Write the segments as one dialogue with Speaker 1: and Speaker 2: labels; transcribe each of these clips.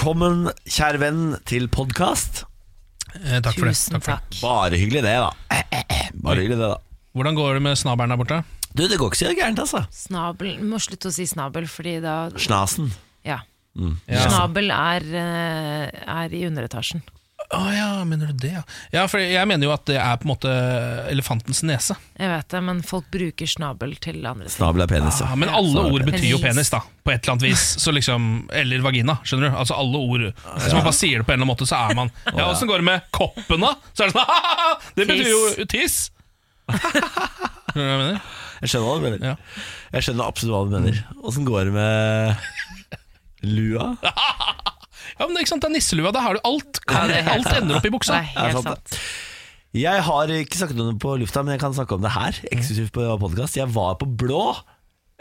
Speaker 1: Velkommen, kjære venn, til podkast.
Speaker 2: Eh, takk for det.
Speaker 3: Tusen
Speaker 2: Takk for det.
Speaker 3: takk.
Speaker 1: Bare hyggelig, det, da. Bare hyggelig, det, da.
Speaker 2: Hvordan går det med snabelen der borte?
Speaker 1: eh, Du, det går ikke så gærent, altså.
Speaker 3: Snabel Må slutte å si snabel, fordi da
Speaker 1: Snasen.
Speaker 3: Ja.
Speaker 2: Ja.
Speaker 3: Snabel er, eh, er i underetasjen.
Speaker 2: Å ja, mener du det, ja. ja for jeg mener jo at det er på en måte elefantens nese.
Speaker 3: Jeg vet det, men folk bruker snabel til andre ting.
Speaker 1: Snabel er penis,
Speaker 2: Ja,
Speaker 1: ja.
Speaker 2: Ah, men alle
Speaker 1: snabel.
Speaker 2: ord betyr jo
Speaker 3: Penis.
Speaker 2: penis, da. På et eller annet vis. Så liksom, eller vagina, skjønner du. Altså alle ord. Hvis man bare sier det på en eller annen måte, så er man Ja, åssen går det med koppen, da? Så er det sånn Det betyr jo tiss! Skjønner
Speaker 1: Jeg
Speaker 2: du hva jeg mener?
Speaker 1: skjønner hva du mener.
Speaker 2: Ja.
Speaker 1: Jeg skjønner absolutt hva du mener. Åssen går det med lua?
Speaker 2: Ja, men det er ikke sant, det er nisselua. Da har du alt.
Speaker 3: Ja, det er helt
Speaker 2: Alt ender opp i
Speaker 3: Det
Speaker 2: buksa.
Speaker 3: er
Speaker 1: er
Speaker 3: helt
Speaker 1: sant, det.
Speaker 3: sant.
Speaker 1: Jeg har ikke snakket om det på lufta, men jeg kan snakke om det her. Eksklusivt på podkast. Jeg var på Blå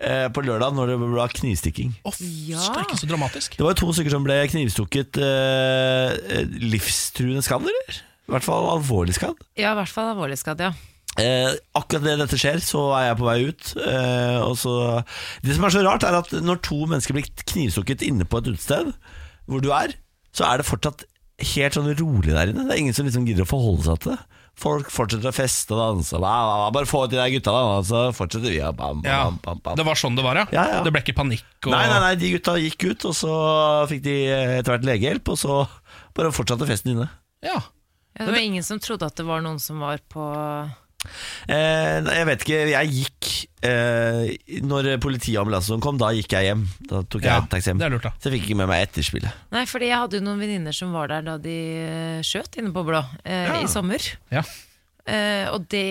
Speaker 1: eh, på lørdag når det var knivstikking.
Speaker 2: Å, f-
Speaker 3: Ja.
Speaker 2: skal ikke så dramatisk.
Speaker 1: Det var jo to stykker som ble knivstukket. Eh, eh, livstruende skadd, eller? I hvert fall alvorlig skadd.
Speaker 3: Ja, i hvert fall alvorlig skadd, ja.
Speaker 1: Eh, akkurat det dette skjer, så er jeg på vei ut. Eh, og så, det som er så rart, er at når to mennesker blir knivstukket inne på et utested, hvor du er, så er det fortsatt helt sånn rolig der inne. Det er ingen som liksom gidder å forholde seg til det. Folk fortsetter å feste og danse. og Bla, bla, bla. Bare få ut de der gutta, da, og så fortsetter vi. og Bam,
Speaker 2: Ja,
Speaker 1: bam, bam, bam.
Speaker 2: Det var sånn det var, ja.
Speaker 1: Ja, ja.
Speaker 2: Det ble ikke panikk og
Speaker 1: Nei, nei, nei, de gutta gikk ut, og så fikk de eh, etter hvert legehjelp, og så bare fortsatte festen inne.
Speaker 2: Ja.
Speaker 3: ja. Det var ingen som trodde at det var noen som var på
Speaker 1: Eh, nei, jeg vet ikke, jeg gikk eh, Når politiet og ambulansen kom, da gikk jeg hjem. Da tok jeg
Speaker 2: Ja,
Speaker 1: en taxi hjem.
Speaker 2: det er lurt, da.
Speaker 1: Så jeg fikk ikke med meg etterspillet.
Speaker 3: Nei, fordi jeg hadde jo noen venninner som var der da de eh, skjøt inne på Blå eh, i sommer.
Speaker 2: Ja.
Speaker 3: Eh, og det,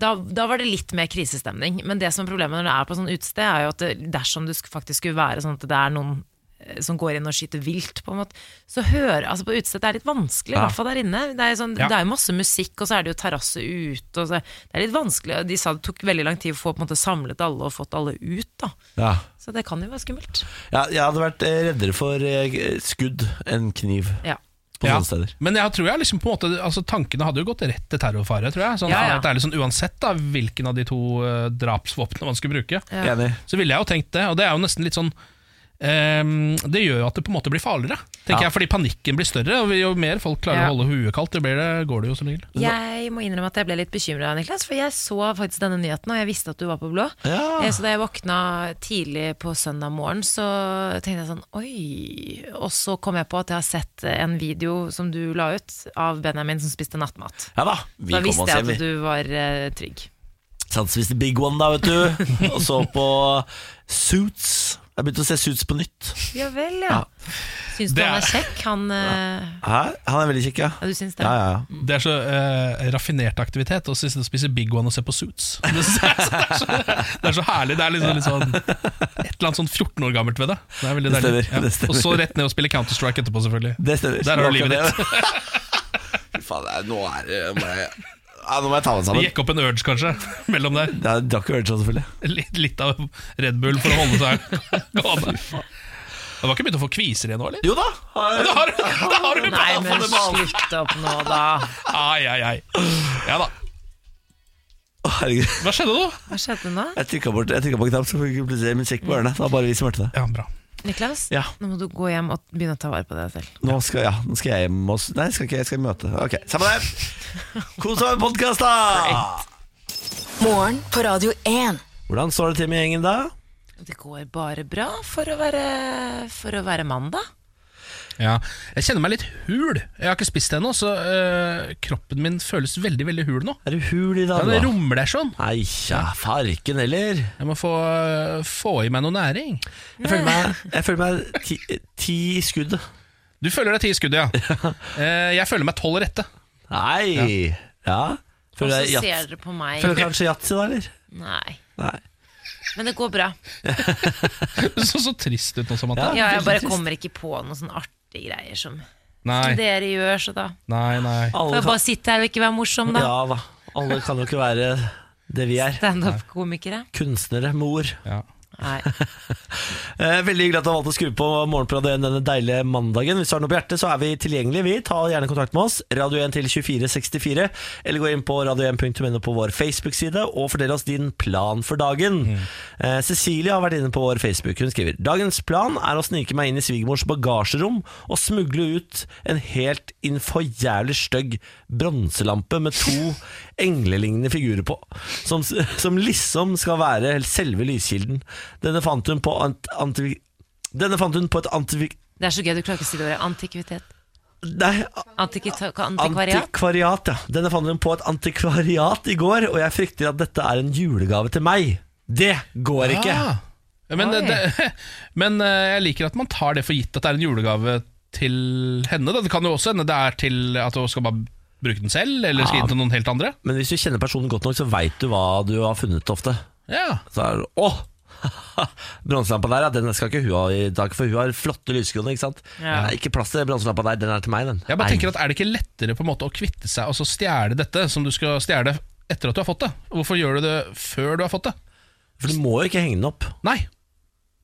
Speaker 3: da, da var det litt mer krisestemning. Men det som er problemet når det er på sånn utested, er jo at det, dersom det sk- faktisk skulle være sånn at det er noen eh, som går inn og skyter vilt, på en måte, så hører Altså, på utested det er litt vanskelig, i
Speaker 1: Ja.
Speaker 3: hvert fall der inne. Det er, jo sånn,
Speaker 2: Ja.
Speaker 3: det er jo masse musikk, og så er det jo terrasse ute, og så Det er litt vanskelig. og De sa det tok veldig lang tid å få på en måte samlet alle og fått alle ut, da.
Speaker 1: Ja.
Speaker 3: Så det kan jo være skummelt.
Speaker 1: Ja, jeg hadde vært eh, reddere for eh, skudd enn kniv
Speaker 3: Ja.
Speaker 1: på
Speaker 2: Ja.
Speaker 1: sånne steder.
Speaker 2: Men jeg tror jeg liksom på en måte altså Tankene hadde jo gått rett til terrorfare, tror jeg. Sånn,
Speaker 3: Ja, ja.
Speaker 2: helt ærlig, sånn, uansett da hvilken av de to eh, drapsvåpnene man skulle bruke,
Speaker 3: Ja.
Speaker 1: Enig.
Speaker 2: så ville jeg jo tenkt det. Og det er jo nesten litt sånn ehm, Det gjør jo at det på en måte blir farligere, tenker
Speaker 1: Ja.
Speaker 2: jeg, fordi panikken blir større. Og jo mer folk klarer
Speaker 3: Ja.
Speaker 2: å holde huet kaldt, jo bedre går det jo som regel.
Speaker 3: Jeg må innrømme at jeg ble litt bekymra, Niklas, for jeg så faktisk denne nyheten, og jeg visste at du var på blå.
Speaker 1: Ja.
Speaker 3: Eh, Så da jeg våkna tidlig på søndag morgen, så tenkte jeg sånn oi. Og så kom jeg på at jeg har sett en video som du la ut av Benjamin som spiste nattmat.
Speaker 1: Ja da, vi
Speaker 3: Da
Speaker 1: kom
Speaker 3: visste
Speaker 1: oss
Speaker 3: jeg
Speaker 1: hjem.
Speaker 3: at
Speaker 1: vi.
Speaker 3: du var eh, trygg.
Speaker 1: Satt og spiste Big One da, vet du. Og så på Suits. Jeg begynte å se Suits på nytt.
Speaker 3: Ja vel, ja. Syns du
Speaker 2: Det
Speaker 3: han
Speaker 2: er-
Speaker 3: er kjekk? Han eh,
Speaker 1: Hæ? Han er veldig kjekk, ja.
Speaker 3: Ja, du syns det?
Speaker 1: Ja, ja, ja.
Speaker 2: Det er så eh, raffinert aktivitet å sitte og spise Big One og se på Suits. Det, synes jeg- det, er, så, det er så herlig. Det er liksom litt sånn et eller annet sånn 14 år gammelt ved det. Det er veldig
Speaker 1: Det
Speaker 2: deilig.
Speaker 1: stemmer, det stemmer.
Speaker 2: Og så rett ned og spille Counter-Strike etterpå, selvfølgelig.
Speaker 1: Det stemmer.
Speaker 2: Der har du livet ditt.
Speaker 1: ditt. Fy faen, det er- nå er det må jeg- ja, Nå må jeg ta meg
Speaker 2: Det
Speaker 1: sammen.
Speaker 2: gikk opp en urge, kanskje, mellom der.
Speaker 1: Ja, Jeg drakk jo Urge, sånn, selvfølgelig.
Speaker 2: Litt, litt av Red Bull for å holde seg gående. Det var ikke begynt å få kviser igjen nå, eller?
Speaker 1: Jo da!
Speaker 2: Da har, du- da har du
Speaker 3: Nei, men
Speaker 2: det
Speaker 3: slutt opp nå, da.
Speaker 2: Ai, ai, ai. Ja da.
Speaker 1: Å, herregud.
Speaker 2: Hva skjedde nå?
Speaker 3: Hva skjedde nå?
Speaker 1: Jeg trykka bort- jeg trykka på en knapp, så fikk jeg plutselig musikk på ørene. Det var bare vi som hørte det.
Speaker 2: Ja, bra.
Speaker 3: Niklas,
Speaker 1: Ja.
Speaker 3: nå må du gå hjem og begynne å ta vare på deg selv.
Speaker 1: Nå skal, ja, nå skal jeg hjem og s- Nei, jeg skal ikke, jeg skal i møte. Ok, Samme det. Kos deg med podkast, da!
Speaker 4: Morgen på Radio 1.
Speaker 1: Hvordan står det til med gjengen da?
Speaker 3: Det går bare bra for å være, for å være mandag.
Speaker 2: Ja. Jeg kjenner meg litt hul. Jeg har ikke spist det ennå, så øh, kroppen min føles veldig veldig hul nå.
Speaker 1: Er du hul i
Speaker 2: Ja,
Speaker 1: dag,
Speaker 2: det
Speaker 1: da?
Speaker 2: rumler sånn.
Speaker 1: Nei, ja, farken heller.
Speaker 2: Jeg må få, øh, få i meg noe næring.
Speaker 1: Jeg føler meg, jeg føler meg ti, ti i skuddet.
Speaker 2: Du føler deg ti i skuddet, ja. Eh, Jeg føler meg tolv rette.
Speaker 1: Nei! Ja.
Speaker 3: Og så
Speaker 1: Føler jeg
Speaker 3: ser
Speaker 1: jats-
Speaker 3: dere på meg.
Speaker 1: føler kanskje yatzy da, eller?
Speaker 3: Nei.
Speaker 1: Nei.
Speaker 3: Men det går bra.
Speaker 2: Du så så trist ut nå, Samantha.
Speaker 3: Ja, jeg bare kommer ikke på noen sånn artige greier som som
Speaker 2: Nei,
Speaker 3: dere gjør, så da
Speaker 2: nei, nei.
Speaker 3: Får
Speaker 1: Alle
Speaker 3: jeg bare sitte her og ikke være morsom, da.
Speaker 1: Ja da. Alle kan jo ikke være det vi er.
Speaker 3: Standup-komikere.
Speaker 1: Kunstnere, mor.
Speaker 2: Ja.
Speaker 3: Nei.
Speaker 1: Eh, Veldig hyggelig at du har valgt å skru på morgenpradet denne deilige mandagen. Hvis du har noe på hjertet, så er vi tilgjengelige. Vi Ta gjerne kontakt med oss. Radio 1 til 2464. Eller gå inn på radio1.no på vår Facebook-side og fortell oss din plan for dagen. Eh, Cecilie har vært inne på vår Facebook. Hun skriver Dagens plan er å snike meg inn i svigermors bagasjerom og smugle ut en helt infojævlig stygg bronselampe med to englelignende figurer på, som, som liksom skal være selve lyskilden. Denne fant hun på ant, antivi, Denne fant hun på et antivi...
Speaker 3: Det er så gøy, du klarer ikke å si det ordet. Antikvitet.
Speaker 1: Nei,
Speaker 3: Antikvita- Antikvariat.
Speaker 1: antikvariat. ja. Denne fant hun på et antikvariat i går, og jeg frykter at dette er en julegave til meg. Det går ikke!
Speaker 2: Ah. Men,
Speaker 3: Oi.
Speaker 2: det, men eh, jeg liker at man tar det for gitt at det er en julegave til henne. Da. Det kan jo også hende det er til at hun skal bare bruke den selv, eller skal inn til noen helt andre.
Speaker 1: Men hvis du kjenner personen godt nok, så veit du hva du har funnet ofte.
Speaker 2: Ja,
Speaker 1: Så er det Å! Bronselampa der, ja, den skal ikke hun ha i dag, for hun har flotte lyskroner. Ikke sant?
Speaker 3: Ja.
Speaker 1: Nei, ikke plass til bronselampa der, den er til meg, den.
Speaker 2: Jeg bare tenker at Er det ikke lettere på en måte å kvitte seg og så stjele dette som du skal stjele etter at du har fått det? Hvorfor gjør du det før du har fått det?
Speaker 1: For du må jo ikke henge den opp.
Speaker 2: Nei.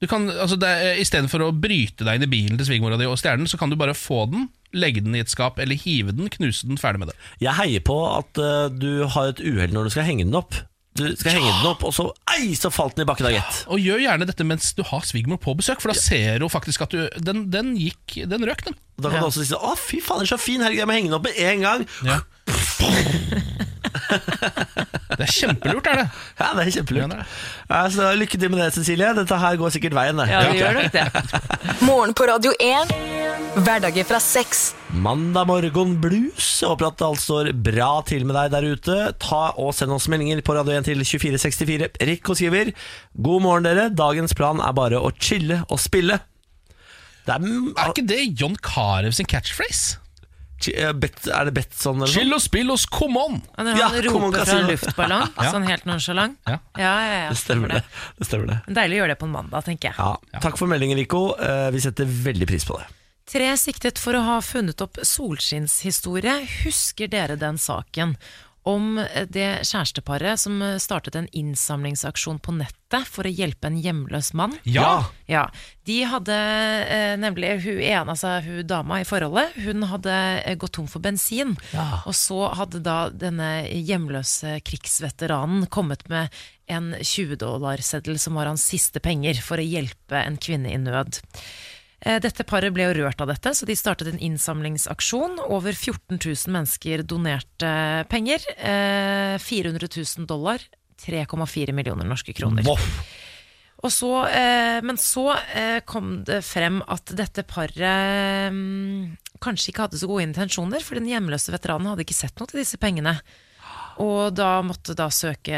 Speaker 2: Du kan, altså det, er- Istedenfor å bryte deg inn i bilen til svigermora di og stjele den, så kan du bare få den, legge den i et skap eller hive den, knuse den, ferdig med det.
Speaker 1: Jeg heier på at eh, du har et uhell når du skal henge den opp. Du skal henge den opp, og så ei, så falt den i bakken, da, gitt.
Speaker 2: Og gjør gjerne dette mens du har svigermor på besøk, for da ser hun faktisk at du Den, den gikk, den røk, den.
Speaker 1: Og Da kan du også si sånn Å, fy fader, så fin! Herregud, jeg må henge den opp med en gang!
Speaker 2: Ja. Det er kjempelurt, er det.
Speaker 1: Ja, det er
Speaker 2: Ja,
Speaker 1: kjempelurt.
Speaker 2: det er det.
Speaker 1: Ja, så lykke til med det, Cecilie. Dette her går sikkert veien, det.
Speaker 3: Ja, det gjør nok det.
Speaker 4: Morgen på Radio 1. Hverdager fra seks.
Speaker 1: Mandag morgen blues. Jeg håper at alt står bra til med deg der ute. Ta og Send oss meldinger på radio 1 til 2464. Rikko skriver God morgen, dere. Dagens plan er bare å chille og spille. Det er,
Speaker 2: Er ikke det John Carew sin catchphrase?
Speaker 1: chi- eh, bet, er det Betson eller noe?
Speaker 2: Chill og spill oss, come on!
Speaker 3: Og når
Speaker 1: Ja,
Speaker 3: han
Speaker 1: kom og
Speaker 3: roper fra
Speaker 1: kasino.
Speaker 3: en luftballong, sånn helt nonchalant.
Speaker 2: Ja.
Speaker 3: Ja, ja, ja.
Speaker 1: Det stemmer, det. det stemmer det.
Speaker 3: Men Deilig å gjøre det på en mandag, tenker jeg.
Speaker 1: Ja, Takk for meldingen, Rikko. Eh, Vi setter veldig pris på det.
Speaker 3: Tre siktet for å ha funnet opp solskinnshistorie. Husker dere den saken om det kjæresteparet som startet en innsamlingsaksjon på nettet for å hjelpe en hjemløs mann?
Speaker 2: Ja.
Speaker 3: Ja, De hadde eh, nemlig hun ene, altså hun dama i forholdet, hun hadde eh, gått tom for bensin. Og så hadde da denne hjemløse krigsveteranen kommet med en 20-dollarseddel som var hans siste penger, for å hjelpe en kvinne i nød. Eh, Dette paret ble jo rørt av dette, så de startet en innsamlingsaksjon. Over 14 000 mennesker donerte penger. eh, 400 000 dollar. 3,4 millioner norske kroner.
Speaker 1: Voff.
Speaker 3: Og så, eh, men så eh, kom det frem at dette paret mm, kanskje ikke hadde så gode intensjoner, for den hjemløse veteranen hadde ikke sett noe til disse pengene. Og da måtte da søke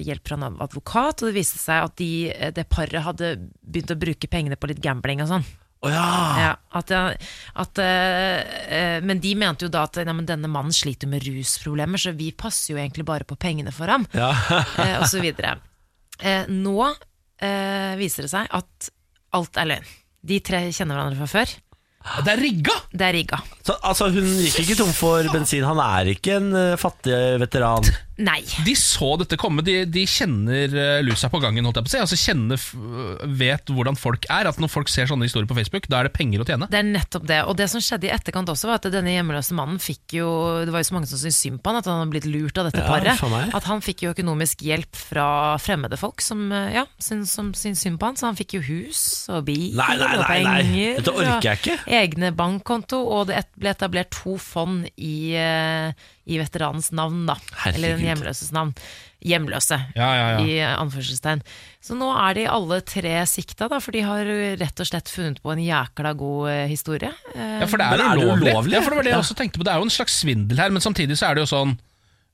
Speaker 3: hjelp fra en advokat, og det viste seg at de, eh, det paret hadde begynt å bruke pengene på litt gambling og sånn.
Speaker 1: Å ja.
Speaker 3: Ja, at, jeg- at, eh, eh, men de mente jo da at nei, men denne mannen sliter med rusproblemer, så vi passer jo egentlig bare på pengene for ham, eh, og så videre. Eh, nå eh, viser det seg at alt er løgn. De tre kjenner hverandre fra før.
Speaker 2: Det er rigga!
Speaker 3: Det er rigga.
Speaker 1: Så, altså, hun gikk ikke tom for bensin. Han er ikke en eh, fattig veteran.
Speaker 3: Nei.
Speaker 2: De så dette komme, de, de kjenner eh, lusa på gangen, holdt jeg på å si. Altså kjenner, f- vet hvordan folk er. At når folk ser sånne historier på Facebook, da er det penger å tjene.
Speaker 3: Det er nettopp det. Og det som skjedde i etterkant også, var at denne hjemmeløse mannen fikk jo Det var jo så mange som syntes synd på han at han hadde blitt lurt av dette
Speaker 1: Ja, for meg.
Speaker 3: paret. At han fikk jo økonomisk hjelp fra fremmede folk som, eh, ja, syns, som syns synd på han. Så han fikk jo hus og bil
Speaker 1: Nei, nei,
Speaker 3: og
Speaker 1: nei, nei.
Speaker 3: penger.
Speaker 1: Dette orker
Speaker 3: og
Speaker 1: jeg ikke.
Speaker 3: Egne bankkonto, og det et- ble etablert to fond i, eh, i veteranens navn, da. Eller den
Speaker 1: Herregud.
Speaker 3: hjemløses navn. Hjemløse
Speaker 2: Ja, ja, ja.
Speaker 3: i anførselstegn. Så nå er de alle tre sikta, da, for de har rett og slett funnet på en jækla god eh, historie. Eh,
Speaker 2: Ja, for det er,
Speaker 1: Men er det
Speaker 2: ulovlig.
Speaker 1: ulovlig?
Speaker 2: Ja, for det var det jeg
Speaker 1: Ja.
Speaker 2: også tenkte på. Det er jo en slags svindel her, men samtidig så er det jo sånn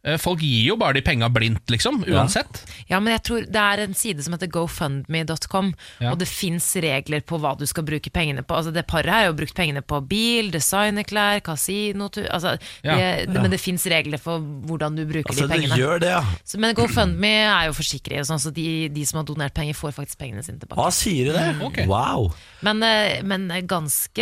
Speaker 2: eh, Folk gir jo bare de penga blindt, liksom. Uansett.
Speaker 3: Ja, men jeg tror Det er en side som heter gofundme.com,
Speaker 2: Ja.
Speaker 3: og det fins regler på hva du skal bruke pengene på. Altså Det paret her har jo brukt pengene på bil, designerklær, kasinotur altså,
Speaker 2: Ja.
Speaker 3: det- Men det fins regler for hvordan du bruker
Speaker 1: Altså,
Speaker 3: de
Speaker 1: det
Speaker 3: pengene.
Speaker 1: gjør det, ja.
Speaker 3: Så, men GoFundMe er jo forsikring, sånn, så de, de som har donert penger, får faktisk pengene sine tilbake.
Speaker 1: Hva sier det?
Speaker 2: Mm, Ok.
Speaker 1: Wow.
Speaker 3: Men, eh, men ganske,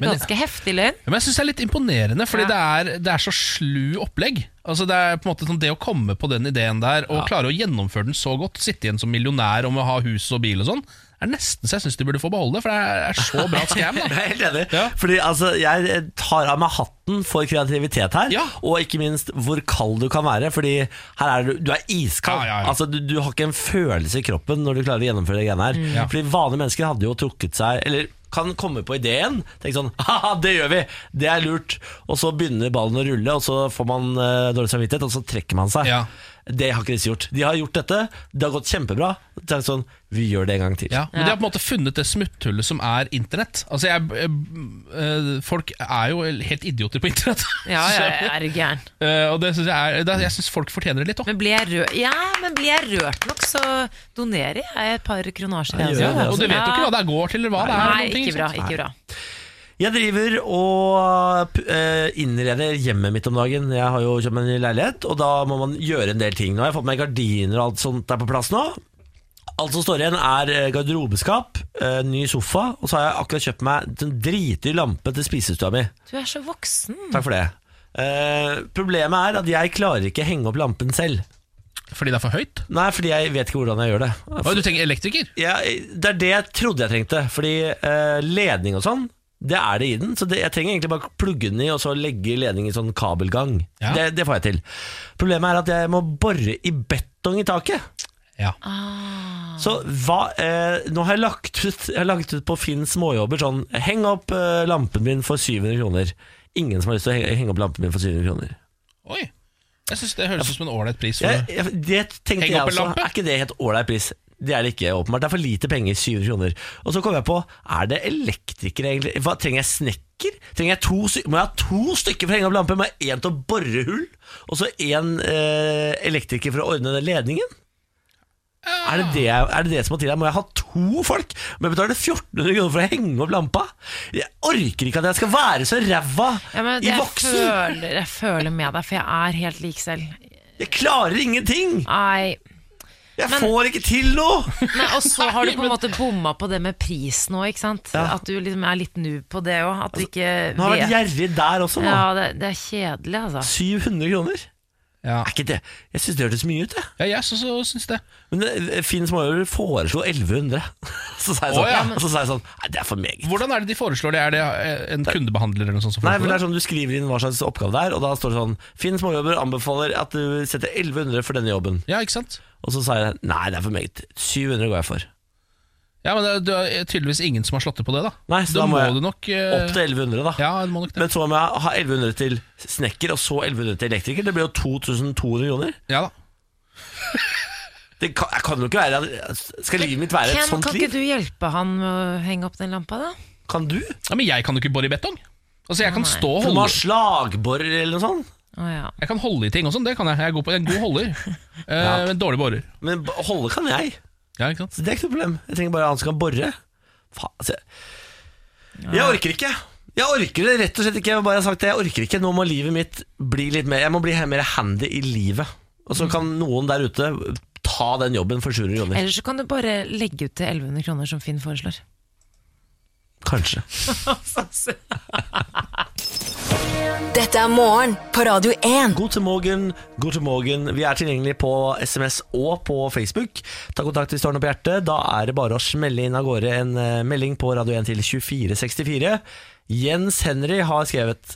Speaker 3: ganske heftig løgn.
Speaker 2: Ja, Men jeg syns det er litt imponerende,
Speaker 3: Ja.
Speaker 2: fordi det, er, det er så slu opplegg. Altså Det er på en måte sånn det å komme på den ideen der og klare å gjennomføre den så godt, sitte igjen som millionær og med å ha hus og bil og sånn, er nesten så jeg syns de burde få beholde det, for det er- er så bra scam.
Speaker 1: Jeg
Speaker 2: da.
Speaker 1: er helt enig.
Speaker 2: Ja.
Speaker 1: Fordi altså, Jeg tar av meg hatten for kreativitet her,
Speaker 2: Ja.
Speaker 1: og ikke minst hvor kald du kan være. Fordi her er du, du er iskald.
Speaker 2: Ja, ja, ja.
Speaker 1: Altså, du, du har ikke en følelse i kroppen når du klarer å gjennomføre det greiene her.
Speaker 2: Mm. Ja.
Speaker 1: Fordi vanlige mennesker hadde jo trukket seg Eller kan komme på ideen. Tenk sånn Haha, det gjør vi! Det er lurt. Og så begynner ballen å rulle, og så får man eh, dårlig samvittighet, og så trekker man seg.
Speaker 2: Ja.
Speaker 1: Det har ikke disse gjort. De har gjort dette, det har gått kjempebra. Tenk sånn, Vi gjør det en gang til.
Speaker 2: Ja, men De har på en måte funnet det smutthullet som er internett. Altså jeg, eh, eh, Folk er jo helt idioter på internett.
Speaker 3: Ja, ja, jeg er du gæren.
Speaker 2: Eh, og det synes jeg, er, det, jeg synes folk fortjener det litt òg.
Speaker 3: Men blir jeg rørt, ja, men blir jeg rørt nok, så donerer jeg et par kronasjer.
Speaker 1: Ja, gjør
Speaker 2: Ja,
Speaker 1: det,
Speaker 2: Eh,
Speaker 1: altså.
Speaker 2: og du vet jo ikke hva det er går til, eller hva det er.
Speaker 3: altså- Nei,
Speaker 2: noen ting,
Speaker 3: ikke bra.
Speaker 2: sant?
Speaker 3: ikke bra
Speaker 1: Jeg driver og p- eh, innreder hjemmet mitt om dagen. Jeg har jo kjøpt meg en ny leilighet, og da må man gjøre en del ting. Nå har jeg fått meg gardiner og alt sånt er på plass nå. Alt som står igjen, er eh, garderobeskap, eh, ny sofa, og så har jeg akkurat kjøpt meg en dritdyr lampe til spisestua mi.
Speaker 3: Du er så voksen.
Speaker 1: Takk for det. Eh, problemet er at jeg klarer ikke henge opp lampen selv.
Speaker 2: Fordi det er for høyt?
Speaker 1: Nei, fordi jeg vet ikke hvordan jeg gjør det.
Speaker 2: Oi, du tenker elektriker?
Speaker 1: Ja, det er det jeg trodde jeg trengte, fordi eh, ledning og sånn, det er det i den. Så det, jeg trenger egentlig bare plugge den i og så legge ledning i sånn kabelgang.
Speaker 2: Ja.
Speaker 1: Det, det får jeg til. Problemet er at jeg må bore i betong i taket.
Speaker 2: Ja.
Speaker 1: Så hva eh, Nå har jeg lagt ut, jeg har lagt ut på Finn småjobber sånn Heng opp eh, lampen min for 700 kroner. Ingen som har lyst til å henge, henge opp lampen min for 700 kroner.
Speaker 2: Oi. Jeg synes Det høres ut som en ålreit pris. For
Speaker 1: Jeg, jeg, det tenkte
Speaker 2: Heng
Speaker 1: jeg
Speaker 2: opp en
Speaker 1: også.
Speaker 2: lampe?
Speaker 1: Er ikke det helt ålreit pris? Det er det ikke, åpenbart. Det er for lite penger. 700 kroner. Og så kom jeg på, er det elektriker egentlig? Hva, trenger jeg snekker? Trenger jeg to, sy- må jeg ha to stykker for å henge opp lampe? Må jeg ha én til å bore hull? Og så én eh, elektriker for å ordne den ledningen? Er det det, jeg- er det det som må til her? Må jeg ha to folk? Må jeg betale 1400 kroner for å henge opp lampa? Jeg orker ikke at jeg skal være så ræva
Speaker 3: Ja, men
Speaker 1: i
Speaker 3: jeg,
Speaker 1: voksen!
Speaker 3: føler, jeg føler med deg, for jeg er helt lik selv.
Speaker 1: Jeg klarer ingenting!
Speaker 3: Nei.
Speaker 1: Jeg
Speaker 3: Men-
Speaker 1: får ikke til noe!
Speaker 3: Nei, og så har du på en måte bomma på det med pris nå, ikke sant?
Speaker 1: Ja. Altså,
Speaker 3: At du liksom er litt noob på det òg. At du ikke
Speaker 1: Nå har jeg vært
Speaker 3: vet.
Speaker 1: gjerrig der også, nå.
Speaker 3: Ja, det, det er kjedelig, altså.
Speaker 1: 700 kroner?
Speaker 2: Ja.
Speaker 1: Er ikke det Jeg syns det hørtes mye ut, jeg.
Speaker 2: ja, jeg så, så syns det.
Speaker 1: Men eh, Finn Småjord foreslo 1100. Så sa jeg sånn,
Speaker 2: Å, ja, men-
Speaker 1: og så sa jeg sånn Nei, det er for meget.
Speaker 2: Hvordan er det de foreslår det? Er det eh, en kundebehandler eller noe sånt? som
Speaker 1: Nei,
Speaker 2: foreslår
Speaker 1: for det er sånn Du skriver inn hva slags oppgave det er, og da står det sånn Finn Småjobber anbefaler at du setter 1100 for denne jobben.
Speaker 2: Ja, ikke sant?
Speaker 1: Og så sa jeg nei, det er for meget. 700 går jeg for.
Speaker 2: Ja, men det er, det er tydeligvis ingen som har slått til på det, da.
Speaker 1: Nei, så
Speaker 2: da,
Speaker 1: da må
Speaker 2: må
Speaker 1: jeg
Speaker 2: du nok eh,
Speaker 1: Opp til 1100, da.
Speaker 2: Ja, du må nok det.
Speaker 1: Men så må jeg ha 1100 til snekker, og så 1100 til elektriker. Det blir jo 2200 kroner.
Speaker 2: Ja da.
Speaker 1: Det kan, jeg kan jo ikke være at- Skal livet mitt være et
Speaker 3: Ken,
Speaker 1: sånt
Speaker 3: kan ikke
Speaker 1: liv?
Speaker 3: du hjelpe han med å henge opp den lampa, da?
Speaker 1: Kan du?
Speaker 2: Ja, Men jeg kan jo ikke bore i betong. Altså, jeg kan
Speaker 3: Nei.
Speaker 2: stå og
Speaker 1: Kan du ha
Speaker 2: holde
Speaker 1: slagborer eller noe sånt?
Speaker 3: Å ja.
Speaker 2: Jeg kan holde i ting og sånn, det kan jeg. Jeg er god på en god holder, eh, men dårlig borer.
Speaker 1: Men b- holde kan jeg,
Speaker 2: Ja, ikke sant?
Speaker 1: så det er ikke noe problem. Jeg trenger bare han som kan bore. Faen, altså. Jeg orker ikke. Jeg orker det rett og slett ikke. Jeg har bare sagt det, jeg orker ikke. Nå må livet mitt bli litt mer Jeg må bli he- mer handy i livet. Og så kan noen der ute ta den jobben for 700 kroner.
Speaker 3: Eller så kan du bare legge ut til 1100 kroner, som Finn foreslår.
Speaker 1: Kanskje.
Speaker 4: Dette er morgen på Radio 1.
Speaker 1: God til morgen, god til morgen. Vi er tilgjengelige på SMS og på Facebook. Ta kontakt hvis du har noe på hjertet. Da er det bare å smelle inn av gårde en eh, melding på Radio 1 til 2464. Jens Henry har skrevet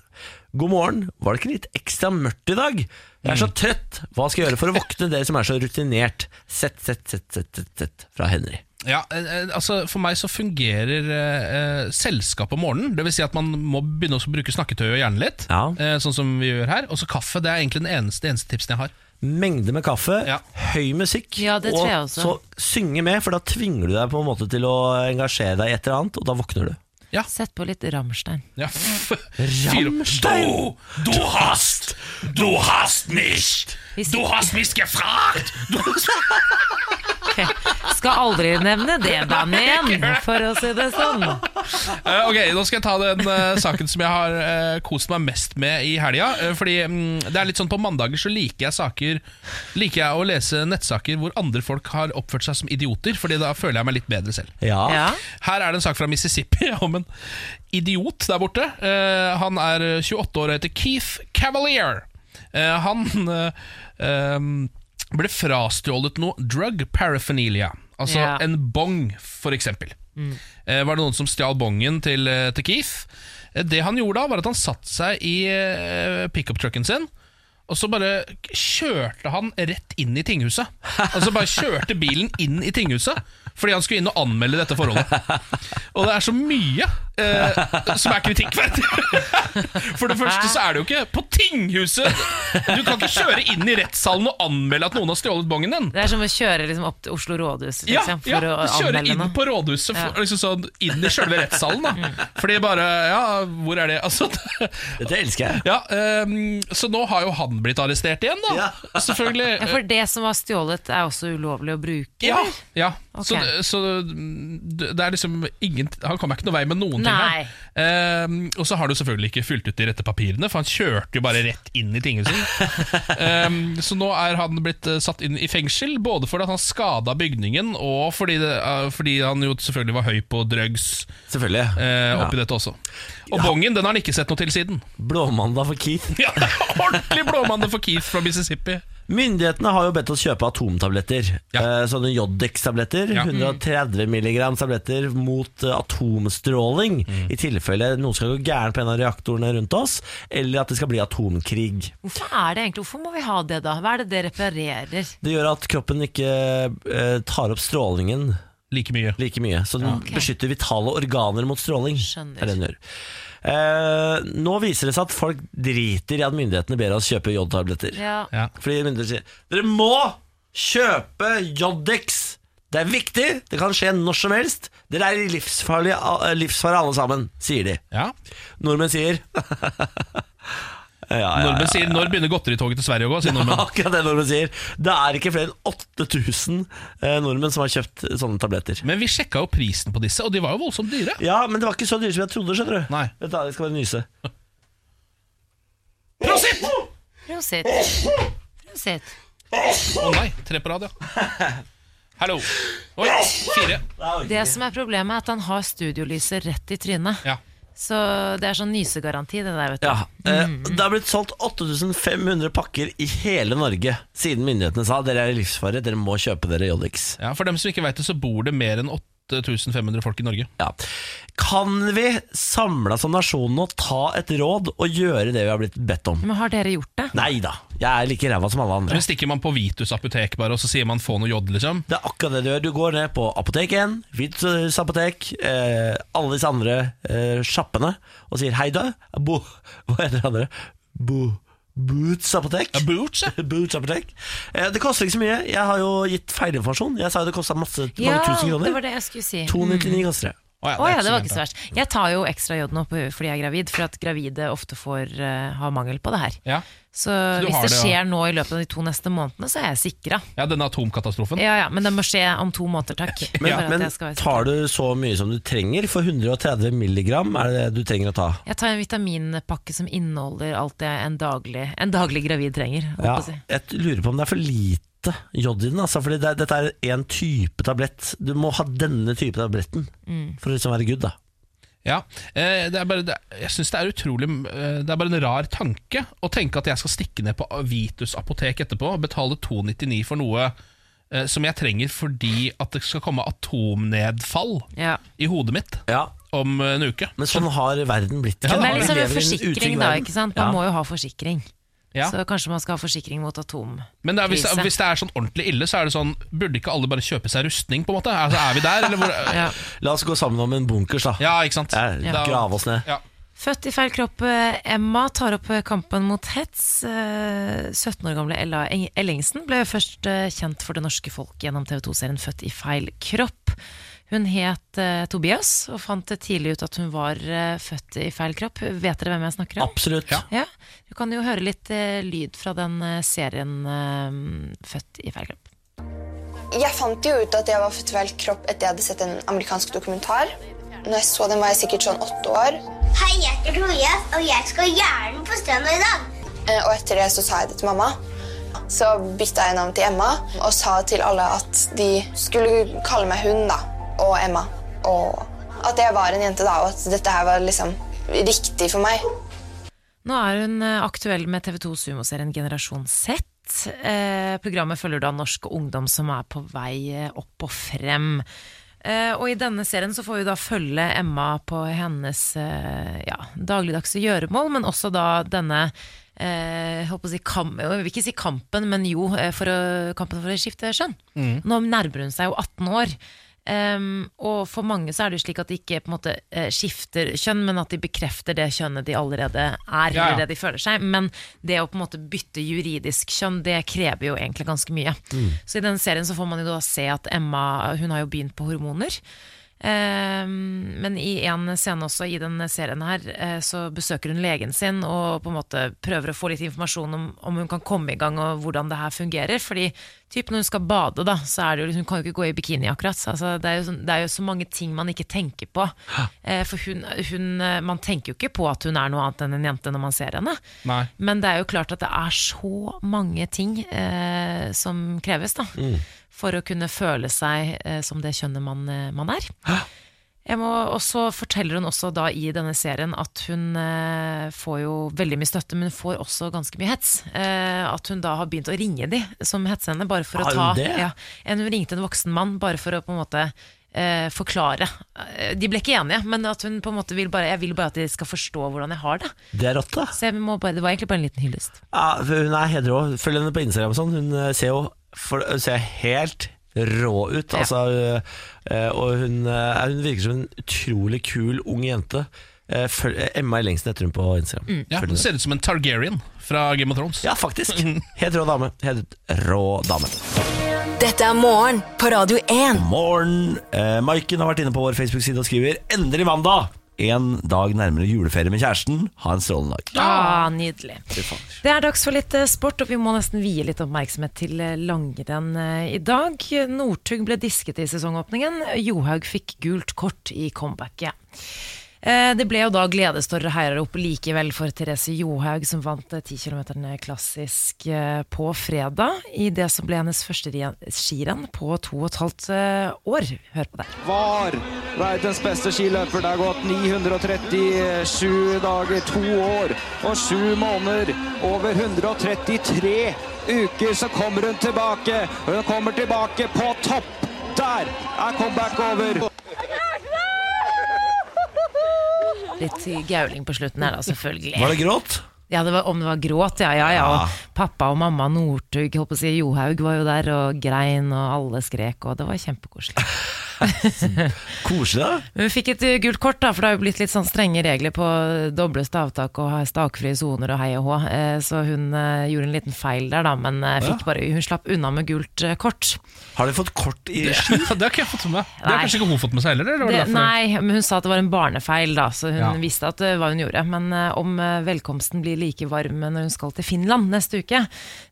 Speaker 1: God morgen, var det ikke litt ekstra mørkt i dag? Jeg er så trøtt. Hva skal jeg gjøre for å våkne dere som er så rutinert? Sett, sett, sett, sett, sett, sett fra Henry.
Speaker 2: Ja, eh, eh, altså For meg så fungerer eh, eh, selskap om morgenen. Det vil si at man må begynne å bruke snakketøy og hjernen litt.
Speaker 1: Ja.
Speaker 2: Eh, sånn som vi gjør her. Og så kaffe. Det er egentlig den eneste, eneste tipsen jeg har.
Speaker 1: Mengde med kaffe,
Speaker 2: Ja.
Speaker 1: høy musikk,
Speaker 3: Ja, det tror jeg
Speaker 1: og
Speaker 3: også.
Speaker 1: så synge med, for da tvinger du deg på en måte til å engasjere deg i et eller annet, og da våkner du.
Speaker 3: Sett på litt Rammstein.
Speaker 2: Ja. Fyr opp.
Speaker 1: Rammstein!
Speaker 2: du hast! Du hast nicht!
Speaker 3: Du
Speaker 2: hast mich gefragt!
Speaker 3: Ok. Skal aldri nevne det bandet igjen, for å si det sånn.
Speaker 2: Eh, ok, Nå skal jeg ta den eh, saken som jeg har eh, kost meg mest med i helga. eh, fordi mm, det er litt sånn På mandager så liker jeg saker Liker jeg å lese nettsaker hvor andre folk har oppført seg som idioter. Fordi da føler jeg meg litt bedre selv.
Speaker 3: Ja.
Speaker 2: Her er det en sak fra Mississippi om en eh, idiot der borte. Eh, han er 28 år og heter Keith Cavalier. Eh, han eh, em, ble frastjålet noe drug paraphernalia. Altså
Speaker 3: Ja.
Speaker 2: en bong, for eksempel. Eh, var det noen som stjal bongen til, eh, til Keith? Eh, det han gjorde da, var at han satte seg i eh, pickup-trucken sin. Og så bare kjørte han rett inn i tinghuset. Altså bare kjørte bilen inn i tinghuset fordi han skulle inn og anmelde dette forholdet. Og det er så mye eh, som er kritikkverdig. For det første så er det jo ikke på tinghuset! Du kan ikke kjøre inn i rettssalen og anmelde at noen har stjålet bongen din.
Speaker 3: Det er som å kjøre liksom, opp til Oslo rådhus
Speaker 2: Ja,
Speaker 3: liksom,
Speaker 2: ja,
Speaker 3: for å
Speaker 2: kjøre
Speaker 3: anmelde
Speaker 2: inn
Speaker 3: noe. Mm.
Speaker 2: på rådhuset, for, liksom sånn inn i sjølve rettssalen. da Fordi bare Ja, hvor er det? Altså,
Speaker 1: Dette elsker jeg.
Speaker 2: ja, ehm, så nå har jo han blitt arrestert igjen, da.
Speaker 1: Ja.
Speaker 2: Selvfølgelig.
Speaker 3: Ja, for det som var stjålet, er også ulovlig å bruke?
Speaker 2: Ja,
Speaker 3: eller?
Speaker 2: ja.
Speaker 3: Ok.
Speaker 2: Så, så det er liksom ingen Han kommer ikke noen vei med noen
Speaker 3: Nei.
Speaker 2: ting. her Ehm, Og så har du selvfølgelig ikke fylt ut de rette papirene, for han kjørte jo bare rett inn i tinghuset. Ehm, så nå er han blitt eh, satt inn i fengsel, både fordi at han skada bygningen, og fordi, det, eh, fordi han jo selvfølgelig var høy på drugs
Speaker 1: Selvfølgelig.
Speaker 2: eh, oppi dette også. Og bongen den har han ikke sett noe til siden.
Speaker 1: Blåmandag for Keith.
Speaker 2: Ja, Ordentlig blåmann for Keith fra Mississippi.
Speaker 1: Myndighetene har jo bedt oss kjøpe atomtabletter.
Speaker 2: Ja.
Speaker 1: Eh, Sånne Jodex-tabletter.
Speaker 2: Ja.
Speaker 1: 130 milligram tabletter mot eh, atomstråling. I tilfelle noe skal gå gærent på en av reaktorene rundt oss, eller at det skal bli atomkrig.
Speaker 3: Hvorfor er det egentlig, hvorfor må vi ha det da? Hva er det det reparerer?
Speaker 1: Det gjør at kroppen ikke eh, tar opp strålingen
Speaker 2: Like mye.
Speaker 1: like mye. Så den
Speaker 3: Ok.
Speaker 1: beskytter vitale organer mot stråling.
Speaker 3: Skjønner.
Speaker 1: Er det den gjør. Eh, nå viser det seg at folk driter i at myndighetene ber oss kjøpe jodtabletter.
Speaker 3: Ja.
Speaker 2: Ja.
Speaker 1: Fordi myndighetene sier Dere må kjøpe Jodex Det er viktig, det kan skje når som helst Dere er i livsfarlig- livsfare alle sammen Sier de
Speaker 2: Ja.
Speaker 1: Nordmenn sier ja, ja,
Speaker 2: Nordmenn sier 'når begynner godteritoget til Sverige å gå'? sier nordmenn.
Speaker 1: Akkurat det nordmenn sier Det er ikke flere enn 8000 eh, nordmenn som har kjøpt sånne tabletter
Speaker 2: Men vi sjekka jo prisen på disse, og de var jo voldsomt dyre.
Speaker 1: Ja, men det var ikke så dyrt som jeg trodde, skjønner du
Speaker 2: Nei.
Speaker 1: Vent da, jeg skal bare nyse
Speaker 2: Prosit!
Speaker 3: Prosit. Prosit.
Speaker 2: Å nei, tre på rad, ja. Hallo. Oi, fire.
Speaker 3: Det som er problemet, er at han har studiolyset rett i trynet.
Speaker 2: Ja.
Speaker 3: Så det er sånn nysegaranti, det der, vet du.
Speaker 1: Ja, eh,
Speaker 2: Mm.
Speaker 1: Det har blitt solgt 8500 pakker i hele Norge Siden myndighetene sa Dere er i livsfare, dere må kjøpe dere Jodex
Speaker 2: ja. For dem som ikke veit det, så bor det mer enn 8500 folk i Norge.
Speaker 1: Ja. Kan vi samla som nasjon nå ta et råd og gjøre det vi har blitt bedt om?
Speaker 3: Men har dere gjort det?
Speaker 1: Nei da, jeg er like ræva som alle andre.
Speaker 2: Men stikker man på Vitus apotek bare, og så sier man 'få noe jod', liksom?
Speaker 1: Det er akkurat det du gjør. Du går ned på Apotek 1, Hvitus apotek, eh, alle disse andre eh, sjappene og sier hei, du. Bo, hva heter det andre? Bo, Boots apotek.
Speaker 2: Ja, Boots, ja.
Speaker 1: Boots apotek. Eh, det koster ikke så mye. Jeg har jo gitt feilinformasjon. Jeg sa jo det kosta masse, mange
Speaker 3: Ja,
Speaker 1: tusen
Speaker 3: det Mm.
Speaker 1: kroner.
Speaker 3: var det jeg skulle si.
Speaker 1: 299 koster det.
Speaker 2: Å
Speaker 3: Å ja, det var
Speaker 2: så
Speaker 3: ikke
Speaker 2: gærent,
Speaker 3: så
Speaker 2: da.
Speaker 3: verst. Jeg tar jo ekstra jod nå på- fordi jeg er gravid, for at gravide ofte får eh, ha mangel på det her.
Speaker 2: Ja.
Speaker 3: Så,
Speaker 2: du
Speaker 3: hvis
Speaker 2: har
Speaker 3: det
Speaker 2: det, ja.
Speaker 3: skjer nå i løpet av de to neste månedene, så er jeg sikra.
Speaker 2: ja, denne atomkatastrofen.
Speaker 3: Ja, ja, men det må skje om to måneder, takk.
Speaker 1: Men,
Speaker 3: for at
Speaker 1: men
Speaker 3: jeg, skal være sikker.
Speaker 1: tar du så mye som du trenger? For 130 milligram er det det du trenger å ta?
Speaker 3: jeg tar en vitaminpakke som inneholder alt det en daglig, en daglig gravid trenger. holdt
Speaker 1: Ja,
Speaker 3: på å si.
Speaker 1: jeg lurer på om det er for lite jod i den. Altså, fordi det, dette er en type tablett. Du må ha denne type tabletten
Speaker 3: Mm.
Speaker 1: for å liksom være good. da
Speaker 2: Ja. Eh, Det er bare, det, er- jeg syns det er utrolig eh, Det er bare en rar tanke å tenke at jeg skal stikke ned på Vitus apotek etterpå og betale 299 for noe eh, som jeg trenger fordi at det skal komme atomnedfall
Speaker 3: Ja.
Speaker 2: i hodet mitt om en uke.
Speaker 1: Men sånn har verden blitt.
Speaker 2: Ja,
Speaker 3: Men det er
Speaker 2: har
Speaker 1: Vi
Speaker 3: liksom
Speaker 1: lever i
Speaker 3: en forsikring,
Speaker 1: utrygg
Speaker 3: da.
Speaker 1: verden.
Speaker 3: ikke sant? Man
Speaker 1: Ja.
Speaker 3: må jo ha forsikring.
Speaker 2: Ja.
Speaker 3: Så kanskje man skal ha forsikring mot atom.
Speaker 2: Men det er, hvis,
Speaker 3: krise.
Speaker 2: hvis det er sånn ordentlig ille, så er det sånn Burde ikke alle bare kjøpe seg rustning, på en måte? Altså, er vi der, eller hvor
Speaker 3: Ja.
Speaker 1: La oss gå sammen om en bunkers, da.
Speaker 2: Ja, ikke sant?
Speaker 1: Ja,
Speaker 2: Da-
Speaker 1: Grave oss ned.
Speaker 2: Ja.
Speaker 3: Født i feil kropp, eh, Emma tar opp eh, kampen mot hets. Eh, 17 år gamle Ella Eng- Ellingsen ble først eh, kjent for det norske folk gjennom TV 2-serien Født i feil kropp. Hun het eh, Tobias og fant eh, tidlig ut at hun var eh, født i feil kropp. Vet dere hvem jeg snakker om?
Speaker 1: Absolutt.
Speaker 2: Ja.
Speaker 3: Ja, Du kan jo høre litt eh, lyd fra den eh, serien eh, Født i feil kropp.
Speaker 5: Jeg fant jo ut at jeg var født i feil kropp etter jeg hadde sett en amerikansk dokumentar. Når jeg så den, var jeg sikkert sånn åtte år.
Speaker 6: Hei, jeg heter Tobias, og jeg skal gjerne på stranda i dag.
Speaker 5: Eh, Og etter det så sa jeg det til mamma. Så bytta jeg navn til Emma og sa til alle at de skulle kalle meg hun da, og Emma. Og at jeg var en jente da, og at dette her var liksom riktig for meg.
Speaker 3: Nå er hun eh, aktuell med TV 2 sumoserien Generasjon Z. Eh, programmet følger da norsk ungdom som er på vei eh, opp og frem. Eh, og i denne serien så får vi da følge Emma på hennes eh, ja, dagligdagse gjøremål, men også da denne eh, jeg holdt på å si kam, jeg vil ikke si kampen, men jo, eh, for å, kampen for å skifte skjønn. Nå nærmer hun seg jo 18 år. Ehm, og for mange så er det jo slik at de ikke på en måte eh, skifter kjønn, men at de bekrefter det kjønnet de allerede er,
Speaker 2: ja.
Speaker 3: eller det de føler seg. Men det å på en måte bytte juridisk kjønn, det krever jo egentlig ganske mye.
Speaker 2: Mm.
Speaker 3: Så i denne serien så får man jo da se at Emma hun har jo begynt på hormoner. Ehm, men i en scene også i den serien her, eh, så besøker hun legen sin og på en måte prøver å få litt informasjon om, om hun kan komme i gang og hvordan det her fungerer. Fordi typ når hun skal bade, da, så er det jo liksom, hun kan jo ikke gå i bikini akkurat. Så, altså, det, er jo, sånn- det er jo så mange ting man ikke tenker på. Eh, for hun, hun, eh, man tenker jo ikke på at hun er noe annet enn en jente når man ser henne.
Speaker 2: Nei.
Speaker 3: Men det er jo klart at det er så mange ting eh, som kreves da,
Speaker 1: Mm.
Speaker 3: for å kunne føle seg eh, som det kjønnet man, eh, man er. Jeg må, og så forteller hun også da i denne serien at hun eh, får jo veldig mye støtte, men hun får også ganske mye hets. Eh, at hun da har begynt å ringe de som hetsende, bare for
Speaker 1: Har
Speaker 3: å
Speaker 1: hun
Speaker 3: ta
Speaker 1: det?
Speaker 3: Ja, en Hun ringte en voksen mann bare for å på en måte eh, forklare. Eh, De ble ikke enige, men at hun på en måte vil bare, jeg vil bare at de skal forstå hvordan jeg har det.
Speaker 1: Det er rått, da.
Speaker 3: Så jeg må bare, det var egentlig bare en liten hyllest.
Speaker 1: Ja, for hun er helt rå. Følg henne på Instagram og sånn. Hun eh, ser jo for, hun ser helt rå ut.
Speaker 3: Ja.
Speaker 1: Altså, eh, og hun, eh, hun virker som en utrolig kul ung jente. Eh, Følg, eh, Emma i lengsten heter hun på Instagram.
Speaker 2: Ja,
Speaker 1: Følg
Speaker 2: hun
Speaker 1: henne.
Speaker 2: ser ut som en Targaryen fra Game of Thrones.
Speaker 1: Ja, faktisk. Helt rå dame. Helt rå dame.
Speaker 4: Dette er morgen på Radio 1.
Speaker 1: Morgen. Eh, Maiken har vært inne på vår Facebook-side og skriver 'Endelig mandag'. En dag nærmere juleferie med kjæresten. Ha en strålende dag.
Speaker 3: Ah, nydelig. Det er dags for litt eh, sport, og vi må nesten vie litt oppmerksomhet til eh, langrenn eh, i dag. Northug ble disket i sesongåpningen. Johaug fikk gult kort i comebacket. Eh, Det ble jo da gledestårer og heiarop likevel for Therese Johaug, som vant eh, 10 km klassisk eh, på fredag i det som ble hennes første ri- skirenn på to og et halvt eh, år. Hør på det.
Speaker 7: var verdens beste skiløper. Det har gått 937 dager, to år og sju måneder. Over 133 uker så kommer hun tilbake. Og Hun kommer tilbake på topp. Der er comeback over.
Speaker 3: Litt gauling på slutten her, da, selvfølgelig.
Speaker 1: Var det gråt?
Speaker 3: Ja, det var, om det var gråt, ja, ja, ja. Og pappa og mamma Northug, holdt på å si, Johaug var jo der, og grein, og alle skrek, og det var kjempekoselig.
Speaker 1: Koselig, da.
Speaker 3: Men vi fikk et eh, gult kort, da, for det har jo blitt litt sånn strenge regler på doble stavtak og stakfrie soner og hei og hå, Eh, så hun eh, gjorde en liten feil der, da, men eh, fikk bare, hun slapp unna med gult eh, kort.
Speaker 1: Har de fått kort i
Speaker 2: Det har ikke jeg fått med meg. Det har
Speaker 3: Nei.
Speaker 2: kanskje ikke hun fått med seg heller? Eller var det
Speaker 3: Det,
Speaker 2: derfor?
Speaker 3: nei, men hun sa at det var en barnefeil, da, så hun
Speaker 2: Ja.
Speaker 3: visste at eh, hva hun gjorde. Men eh, om eh, velkomsten blir like varm eh, når hun skal til Finland neste uke,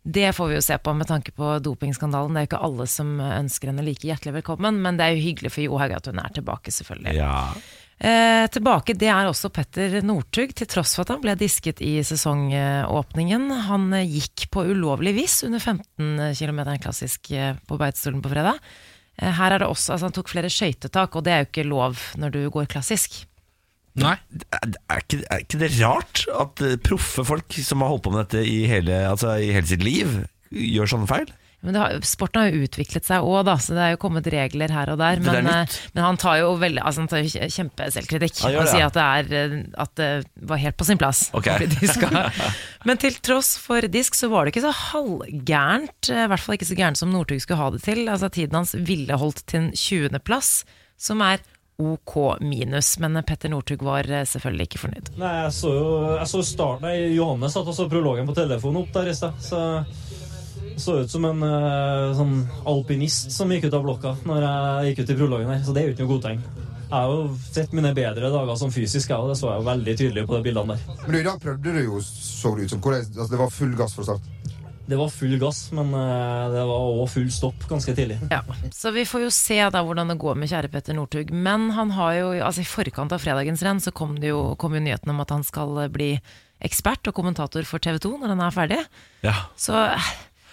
Speaker 3: det får vi jo se på med tanke på dopingskandalen. Det er jo ikke alle som eh, ønsker henne like hjertelig velkommen, men det er jo hyggelig for Johaug at hun er tilbake, selvfølgelig.
Speaker 1: Ja.
Speaker 3: Eh, tilbake det er også Petter Northug, til tross for at han ble disket i sesongåpningen. Han eh, gikk på ulovlig vis under 15 km klassisk eh, på Beitostølen på fredag. Eh, her er det også, altså Han tok flere skøytetak, og det er jo ikke lov når du går klassisk.
Speaker 2: Nei.
Speaker 1: er, er, ikke, er ikke det rart at eh, proffe folk som har holdt på med dette i hele, altså, i hele sitt liv, gjør sånne feil?
Speaker 3: Men det har, sporten har jo utviklet seg òg, da, så det er jo kommet regler her og der.
Speaker 1: Det er
Speaker 3: Men, eh,
Speaker 1: nytt.
Speaker 3: men han tar jo veldig, altså, han tar jo kje- kjempeselvkritikk.
Speaker 1: Han gjør
Speaker 3: Han,
Speaker 1: det,
Speaker 3: sier
Speaker 1: ja.
Speaker 3: at det, er, eh, at det var helt på sin plass.
Speaker 1: Ok.
Speaker 3: å bli diska. men til tross for disk så var det ikke så halvgærent. eh, I hvert fall ikke så gærent som Northug skulle ha det til. Altså Tiden hans ville holdt til en 20. plass, som er OK minus. Men eh, Petter Northug var eh, selvfølgelig ikke fornøyd.
Speaker 8: Nei, jeg så jo jeg så starten, nei, Johannes satt og så prologen på telefonen opp der i sted. Så jeg så ut som en eh, sånn alpinist som gikk ut av blokka når jeg gikk ut i prologen her. Så det er jo ikke noe godt tegn. Jeg har jo sett mine bedre dager som fysisk, jeg og Det så jeg jo veldig tydelig på de bildene der.
Speaker 9: Men du, i dag prøvde du jo, så det ut som. Hvordan- Altså, det var full gass fra start.
Speaker 8: Det var full gass, men eh, det var òg full stopp ganske tidlig.
Speaker 3: Ja, så vi får jo se da hvordan det går med kjære Petter Northug. Men han har jo, altså i forkant av fredagens renn så kom, det jo, kom jo nyheten om at eh, han skal bli ekspert og kommentator for TV 2 når han er ferdig.
Speaker 1: Ja.
Speaker 3: Så eh,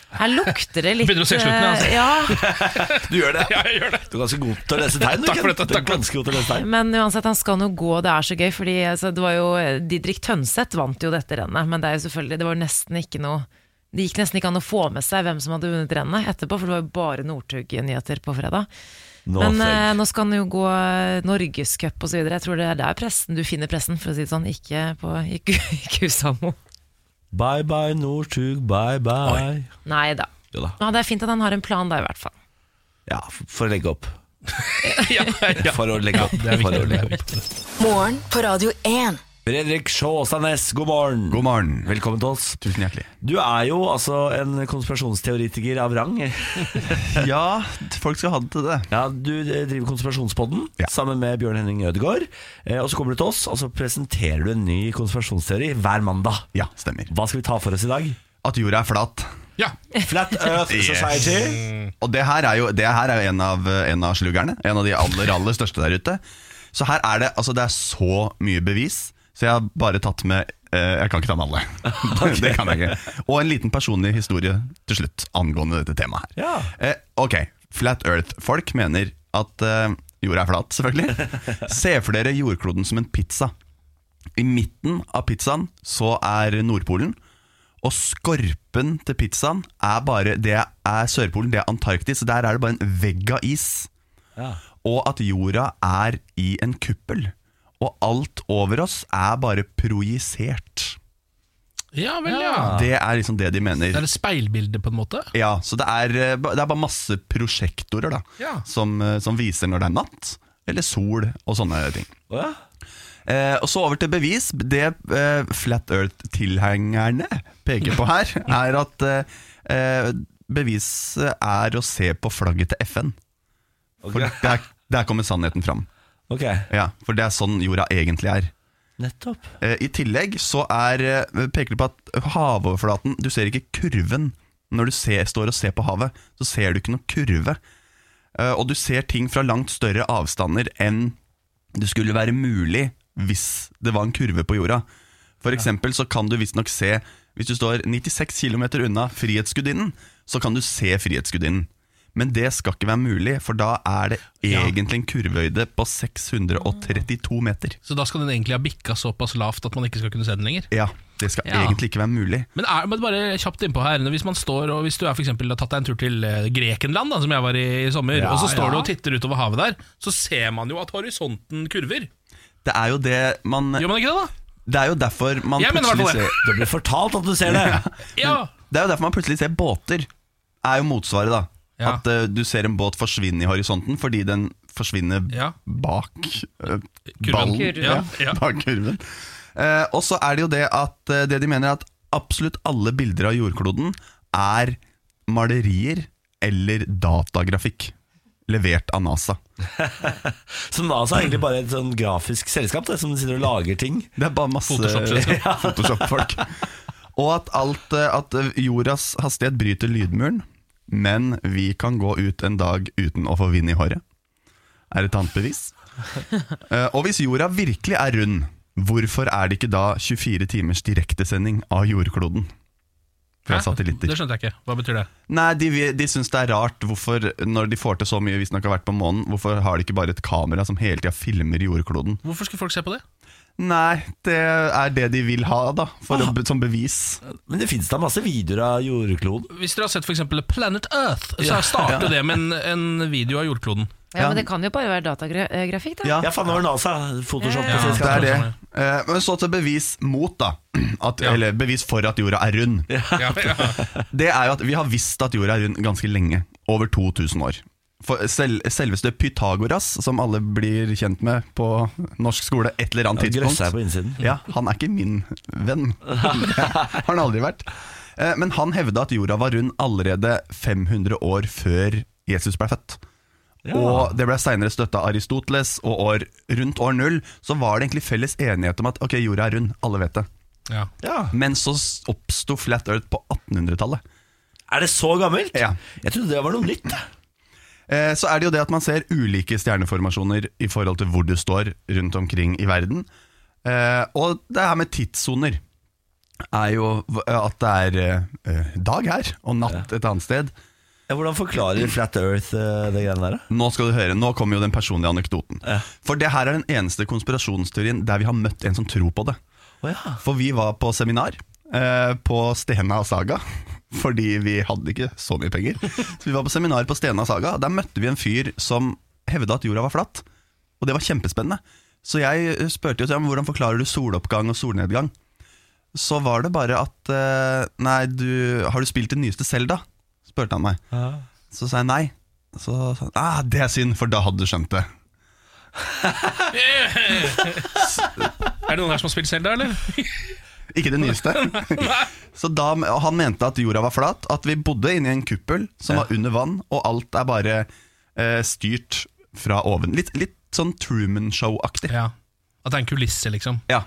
Speaker 3: Her lukter det litt
Speaker 2: Begynner å se slutten, ja, altså.
Speaker 3: eh, ja,
Speaker 1: Du gjør det.
Speaker 2: Ja, jeg gjør det.
Speaker 1: Du er ganske god til å lese tegn. du,
Speaker 2: Takk for
Speaker 1: Kent.
Speaker 2: dette,
Speaker 1: Du er
Speaker 2: takk for
Speaker 1: ganske god til å lese tegn.
Speaker 3: Men uansett, han skal nå gå, det er så gøy. Fordi altså, det var jo Didrik Tønseth vant jo dette rennet, men det er jo selvfølgelig Det var jo nesten ikke noe det gikk nesten ikke an å få med seg hvem som hadde vunnet rennet etterpå, for det var jo bare Northug-nyheter på fredag.
Speaker 1: Nå,
Speaker 3: Men eh,
Speaker 1: Fred.
Speaker 3: nå skal han jo gå eh, Norgescup osv. Jeg tror det er der pressen, du finner pressen, for å si det sånn. Ikke på ikke, ikke Usamo.
Speaker 1: Bye bye Northug, bye bye.
Speaker 3: Nei da.
Speaker 1: Jo da.
Speaker 3: Ja, det er fint at han har en plan da, i hvert fall.
Speaker 1: Ja, f- for å legge opp.
Speaker 2: Ja, ja.
Speaker 1: For å legge opp. for å legge opp.
Speaker 4: Morgen på Radio 1.
Speaker 1: Fredrik Sjåsanes, god morgen.
Speaker 10: God morgen.
Speaker 1: Velkommen til oss.
Speaker 10: Tusen hjertelig.
Speaker 1: Du er jo altså en konspirasjonsteoretiker av rang.
Speaker 10: Ja, folk skal ha det til det.
Speaker 1: Ja, Du eh, driver Konspirasjonspodden
Speaker 10: Ja.
Speaker 1: sammen med Bjørn Henning Ødegaard. Eh, og så kommer du til oss, og så presenterer du en ny konspirasjonsteori hver mandag.
Speaker 10: Ja, stemmer.
Speaker 1: Hva skal vi ta for oss i dag?
Speaker 10: At jorda er flat.
Speaker 2: ja.
Speaker 1: Flat Earth
Speaker 10: Yes.
Speaker 1: Society.
Speaker 10: Og det her er jo, det her er jo en, av, en av sluggerne. En av de aller, aller største der ute. Så her er det altså det er så mye bevis, så jeg har bare tatt med eh, Jeg kan ikke ta med alle. det kan jeg ikke. Og en liten personlig historie til slutt angående dette temaet her.
Speaker 1: Ja.
Speaker 10: Eh, ok, Flat Earth-folk mener at eh, jorda er flat, selvfølgelig. Ser for dere jordkloden som en pizza. I midten av pizzaen så er Nordpolen. Og skorpen til pizzaen er bare Det er Sørpolen, det er Antarktis. Så der er det bare en vegg av is. Og at jorda er i en kuppel. Og alt over oss er bare projisert.
Speaker 2: ja vel, ja.
Speaker 10: Det er liksom det de
Speaker 2: Det
Speaker 10: mener.
Speaker 2: er et speilbilde, på en måte.
Speaker 10: Ja, så det er, eh, ba- det er bare masse prosjektorer da
Speaker 2: Ja.
Speaker 10: som, eh, som viser når det er natt, eller sol og sånne ting.
Speaker 1: Å ja.
Speaker 10: Eh, og så over til bevis. Det eh, Flat Earth-tilhengerne peker på her, er at eh, eh, beviset er å se på flagget til FN. For der, der kommer sannheten fram.
Speaker 1: Ok,
Speaker 10: Ja, for det er sånn jorda egentlig er.
Speaker 1: nettopp.
Speaker 10: Eh, I tillegg så er, eh, peker det på at havoverflaten Du ser ikke kurven når du ser, står og ser på havet. Så ser du ikke noen kurve. Eh, Og du ser ting fra langt større avstander enn det skulle være mulig hvis det var en kurve på jorda. For eksempel så kan du visstnok se Hvis du står 96 km unna Frihetsgudinnen, så kan du se Frihetsgudinnen. Men det skal ikke være mulig, for da er det egentlig en kurveøyde på 632 meter.
Speaker 2: Så da skal den egentlig ha bikka såpass lavt at man ikke skal kunne se den lenger.
Speaker 10: Ja, det skal
Speaker 2: Ja.
Speaker 10: egentlig ikke være mulig.
Speaker 2: Men er, men bare kjapt innpå her Hvis man står og hvis du er for eksempel, har tatt deg en tur til eh, Grekenland, da, som jeg var i i sommer, og så står du og titter utover havet der, så ser man jo at horisonten kurver.
Speaker 10: Det er jo det man
Speaker 2: Gjør man ikke det, da?
Speaker 10: Det er jo derfor man
Speaker 2: Jeg mener i hvert
Speaker 10: plutselig
Speaker 2: fall det.
Speaker 10: ser
Speaker 1: Du blir fortalt at du ser det.
Speaker 2: Ja!
Speaker 10: Det er jo derfor man plutselig ser båter. Er jo motsvaret, da.
Speaker 2: Ja.
Speaker 10: At eh, du ser en båt forsvinne i horisonten fordi den forsvinner
Speaker 2: Ja.
Speaker 10: bak eh,
Speaker 2: Kurven.
Speaker 10: ballen.
Speaker 2: Kurven. Ja, ja.
Speaker 10: Bak kurven. Eh, og så er det jo det at eh, det de mener er at absolutt alle bilder av jordkloden er malerier eller datagrafikk levert av NASA.
Speaker 1: Som NASA er egentlig bare et sånn grafisk selskap det, som sitter og lager ting.
Speaker 10: Det er bare masse
Speaker 2: Photoshop-selskap.
Speaker 10: Ja, Photoshop-folk. Og at, alt, eh, at jordas hastighet bryter lydmuren, men vi kan gå ut en dag uten å få vind i håret. Er et annet bevis. Eh, Og hvis jorda virkelig er rund, hvorfor er det ikke da 24 timers direktesending av jordkloden? Fra
Speaker 2: Hæ?
Speaker 10: satellitter.
Speaker 2: Det skjønte jeg ikke. Hva betyr det?
Speaker 10: Nei, de, de syns det er rart hvorfor, når de får til så mye, hvis de har vært på månen, hvorfor har de ikke bare et kamera som hele tida filmer jordkloden?
Speaker 2: Hvorfor skulle folk se på det?
Speaker 10: Nei, det er det de vil ha, da. For å, som bevis.
Speaker 1: Men det fins da masse videoer av jordkloden.
Speaker 2: Hvis dere har sett for eksempel Planet Earth, så starter det med en, en video av jordkloden.
Speaker 3: Ja, Men det kan jo bare være datagrafikk, da.
Speaker 10: Ja,
Speaker 1: Ja, faen, det var NASA. Photoshop.
Speaker 2: Ja,
Speaker 10: det er det.
Speaker 2: sånn,
Speaker 10: Eh, Men så til bevis mot, da. At,
Speaker 2: Ja.
Speaker 10: Eller bevis for at jorda er rund.
Speaker 2: Ja, ja.
Speaker 10: Det er jo at Vi har visst at jorda er rund ganske lenge. Over 2000 år. For selv, selveste Pythagoras, som alle blir kjent med på norsk skole et eller annet tidspunkt
Speaker 1: Grøssa er på innsiden.
Speaker 10: Ja, han er ikke min venn. Det har han aldri vært. Eh, Men han hevda at jorda var rund allerede 500 år før Jesus ble født. Og det ble seinere støtta av Aristoteles, og år, rundt år null så var det egentlig felles enighet om at ok, jorda er rund, alle vet det.
Speaker 2: Ja.
Speaker 1: Ja.
Speaker 10: Men så s- oppsto Flat Earth på 1800-tallet.
Speaker 1: Er det så gammelt?
Speaker 10: Ja.
Speaker 1: Jeg trodde det var noe nytt. jeg.
Speaker 10: Eh, Så er det jo det at man ser ulike stjerneformasjoner i forhold til hvor du står rundt omkring i verden. Eh, Og det her med tidssoner. er jo v- at det er eh, dag her og natt et annet sted.
Speaker 1: hvordan forklarer Flat Earth eh, det greiene der?
Speaker 10: Nå skal du høre, nå kommer jo den personlige anekdoten. For det her er den eneste konspirasjonsteorien der vi har møtt en som tror på det. For vi var på seminar eh, på Stena Saga, fordi vi hadde ikke så mye penger. Så vi var på seminar på Stena Saga, og der møtte vi en fyr som hevda at jorda var flatt. Og det var kjempespennende. Så jeg eh, spurte jo til ham hvordan forklarer du soloppgang og solnedgang. Så var det bare at eh, Nei, du, har du spilt det nyeste Selda? spurte han meg. Så sa jeg nei. Så sa han ah, det er synd, for da hadde du skjønt det.
Speaker 2: Er det noen her som har spilt Zelda, eller?
Speaker 10: Ikke det nyeste. så da, og han mente at jorda var flat, at vi bodde inni en kuppel som var under vann, og alt er bare eh, styrt fra oven. Litt, litt sånn Truman Show-aktig.
Speaker 2: Ja. At det er en kulisse, liksom.
Speaker 10: Ja.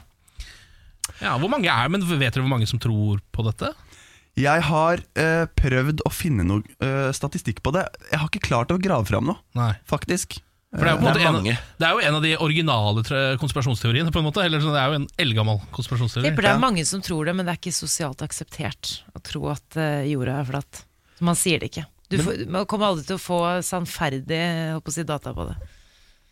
Speaker 2: Ja, hvor mange er men Vet dere hvor mange som tror på dette?
Speaker 10: Jeg har eh, prøvd å finne noe eh, statistikk på det. Jeg har ikke klart å grave fram noe,
Speaker 2: Nei.
Speaker 10: faktisk.
Speaker 2: For det er jo, på
Speaker 10: Eh,
Speaker 2: en måte en, av- det er jo en av de originale tre- konspirasjonsteoriene, på en måte. Eller sånn, det er jo en eldgammel
Speaker 3: Jeg
Speaker 2: konspirasjonsteori.
Speaker 3: Tipper det er mange som tror det, men det er ikke sosialt akseptert å tro at eh, jorda er flatt. Så man sier det ikke. Du får, man kommer aldri til å få sannferdig jeg holdt på å si, data på det.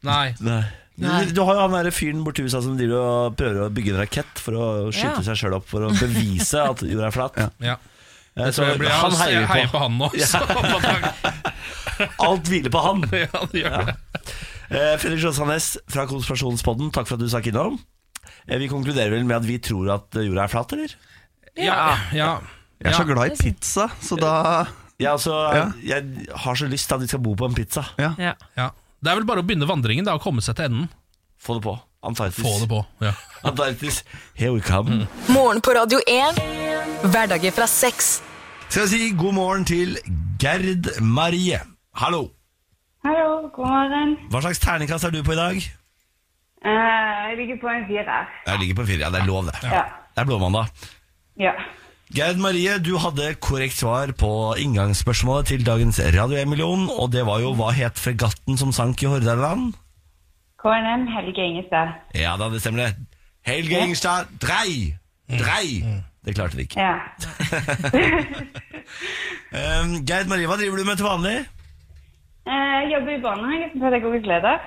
Speaker 2: Nei.
Speaker 3: Nei.
Speaker 1: Du, du har jo han der fyren borti USA som driver og prøver å bygge en rakett for å skyte
Speaker 3: Ja.
Speaker 1: seg sjøl opp for å bevise at jorda er flat.
Speaker 2: Ja.
Speaker 1: Eh,
Speaker 2: Jeg,
Speaker 1: så
Speaker 2: tror jeg, blir, jeg, heier, jeg heier på han nå. Så,
Speaker 1: Alt hviler på han.
Speaker 2: ja, det gjør det.
Speaker 1: Eh, Fredrik Sjåsandnes fra Konspirasjonspodden, takk for at du stakk innom. Eh, Vi konkluderer vel med at vi tror at eh, jorda er flat, eller?
Speaker 2: Ja, ja.
Speaker 10: Jeg er så
Speaker 2: Ja.
Speaker 10: glad i pizza, så da
Speaker 1: Ja, altså, Jeg har så lyst til at vi skal bo på en pizza.
Speaker 3: Ja.
Speaker 2: Ja. Det er vel bare å begynne vandringen da, og komme seg til enden.
Speaker 1: Få det på. Antarktis.
Speaker 2: Få det på. Mm. Ja.
Speaker 1: Antarktis. Here we come.
Speaker 4: Morgen på Radio 1. Hverdager fra seks.
Speaker 1: Skal jeg si god morgen til Gerd Marie. Hallo.
Speaker 11: Hallo, god morgen.
Speaker 1: Hva slags terningkast er du på i dag?
Speaker 11: Eh, jeg ligger på en firer.
Speaker 1: Jeg ligger på fire. Ja, det er lov, det.
Speaker 11: Ja.
Speaker 1: Det er blåmandag.
Speaker 11: ja.
Speaker 1: Gerd Marie, du hadde korrekt svar på inngangsspørsmålet til dagens Radio 1-million, og det var jo hva het fregatten som sank i Hordaland?
Speaker 11: KNM Helge Ingestad.
Speaker 1: Ja da, det stemmer det. Helge Ingstad, drei! Drei! Det klarte vi ikke.
Speaker 11: Ja.
Speaker 1: Um, Gerd Marie, hva driver du med til vanlig?
Speaker 11: Eh, jeg jobber i barnehage som pedagogisk leder.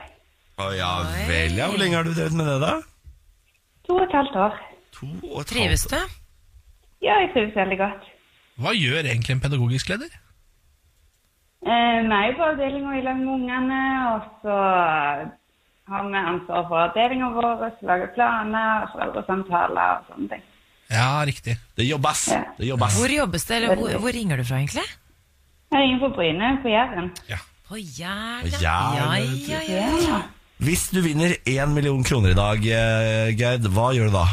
Speaker 1: Å ja vel, ja. Hvor lenge har du drevet med det, da?
Speaker 11: To og et halvt år.
Speaker 1: To og et
Speaker 3: Trives du?
Speaker 11: Ja, jeg trives veldig godt.
Speaker 2: Hva gjør egentlig en pedagogisk leder?
Speaker 11: Eh, vi er jo på avdelinga i lag med ungene, og så har vi ansvar for avdelinga vår, og så lager planer, og foreldresamtaler og sånne ting.
Speaker 2: Ja, riktig.
Speaker 1: Det jobbes. Det jobbes.
Speaker 3: Hvor jobbes det, eller hvor, hvor ringer du fra, egentlig?
Speaker 11: Jeg ringer på Bryne på Jæren.
Speaker 3: På Jæren.
Speaker 1: På
Speaker 3: Ja, ja,
Speaker 1: Jæren, vet du.
Speaker 3: ja. ja, ja.
Speaker 1: Hvis du vinner én million kroner i dag, eh, Gerd, hva gjør du da?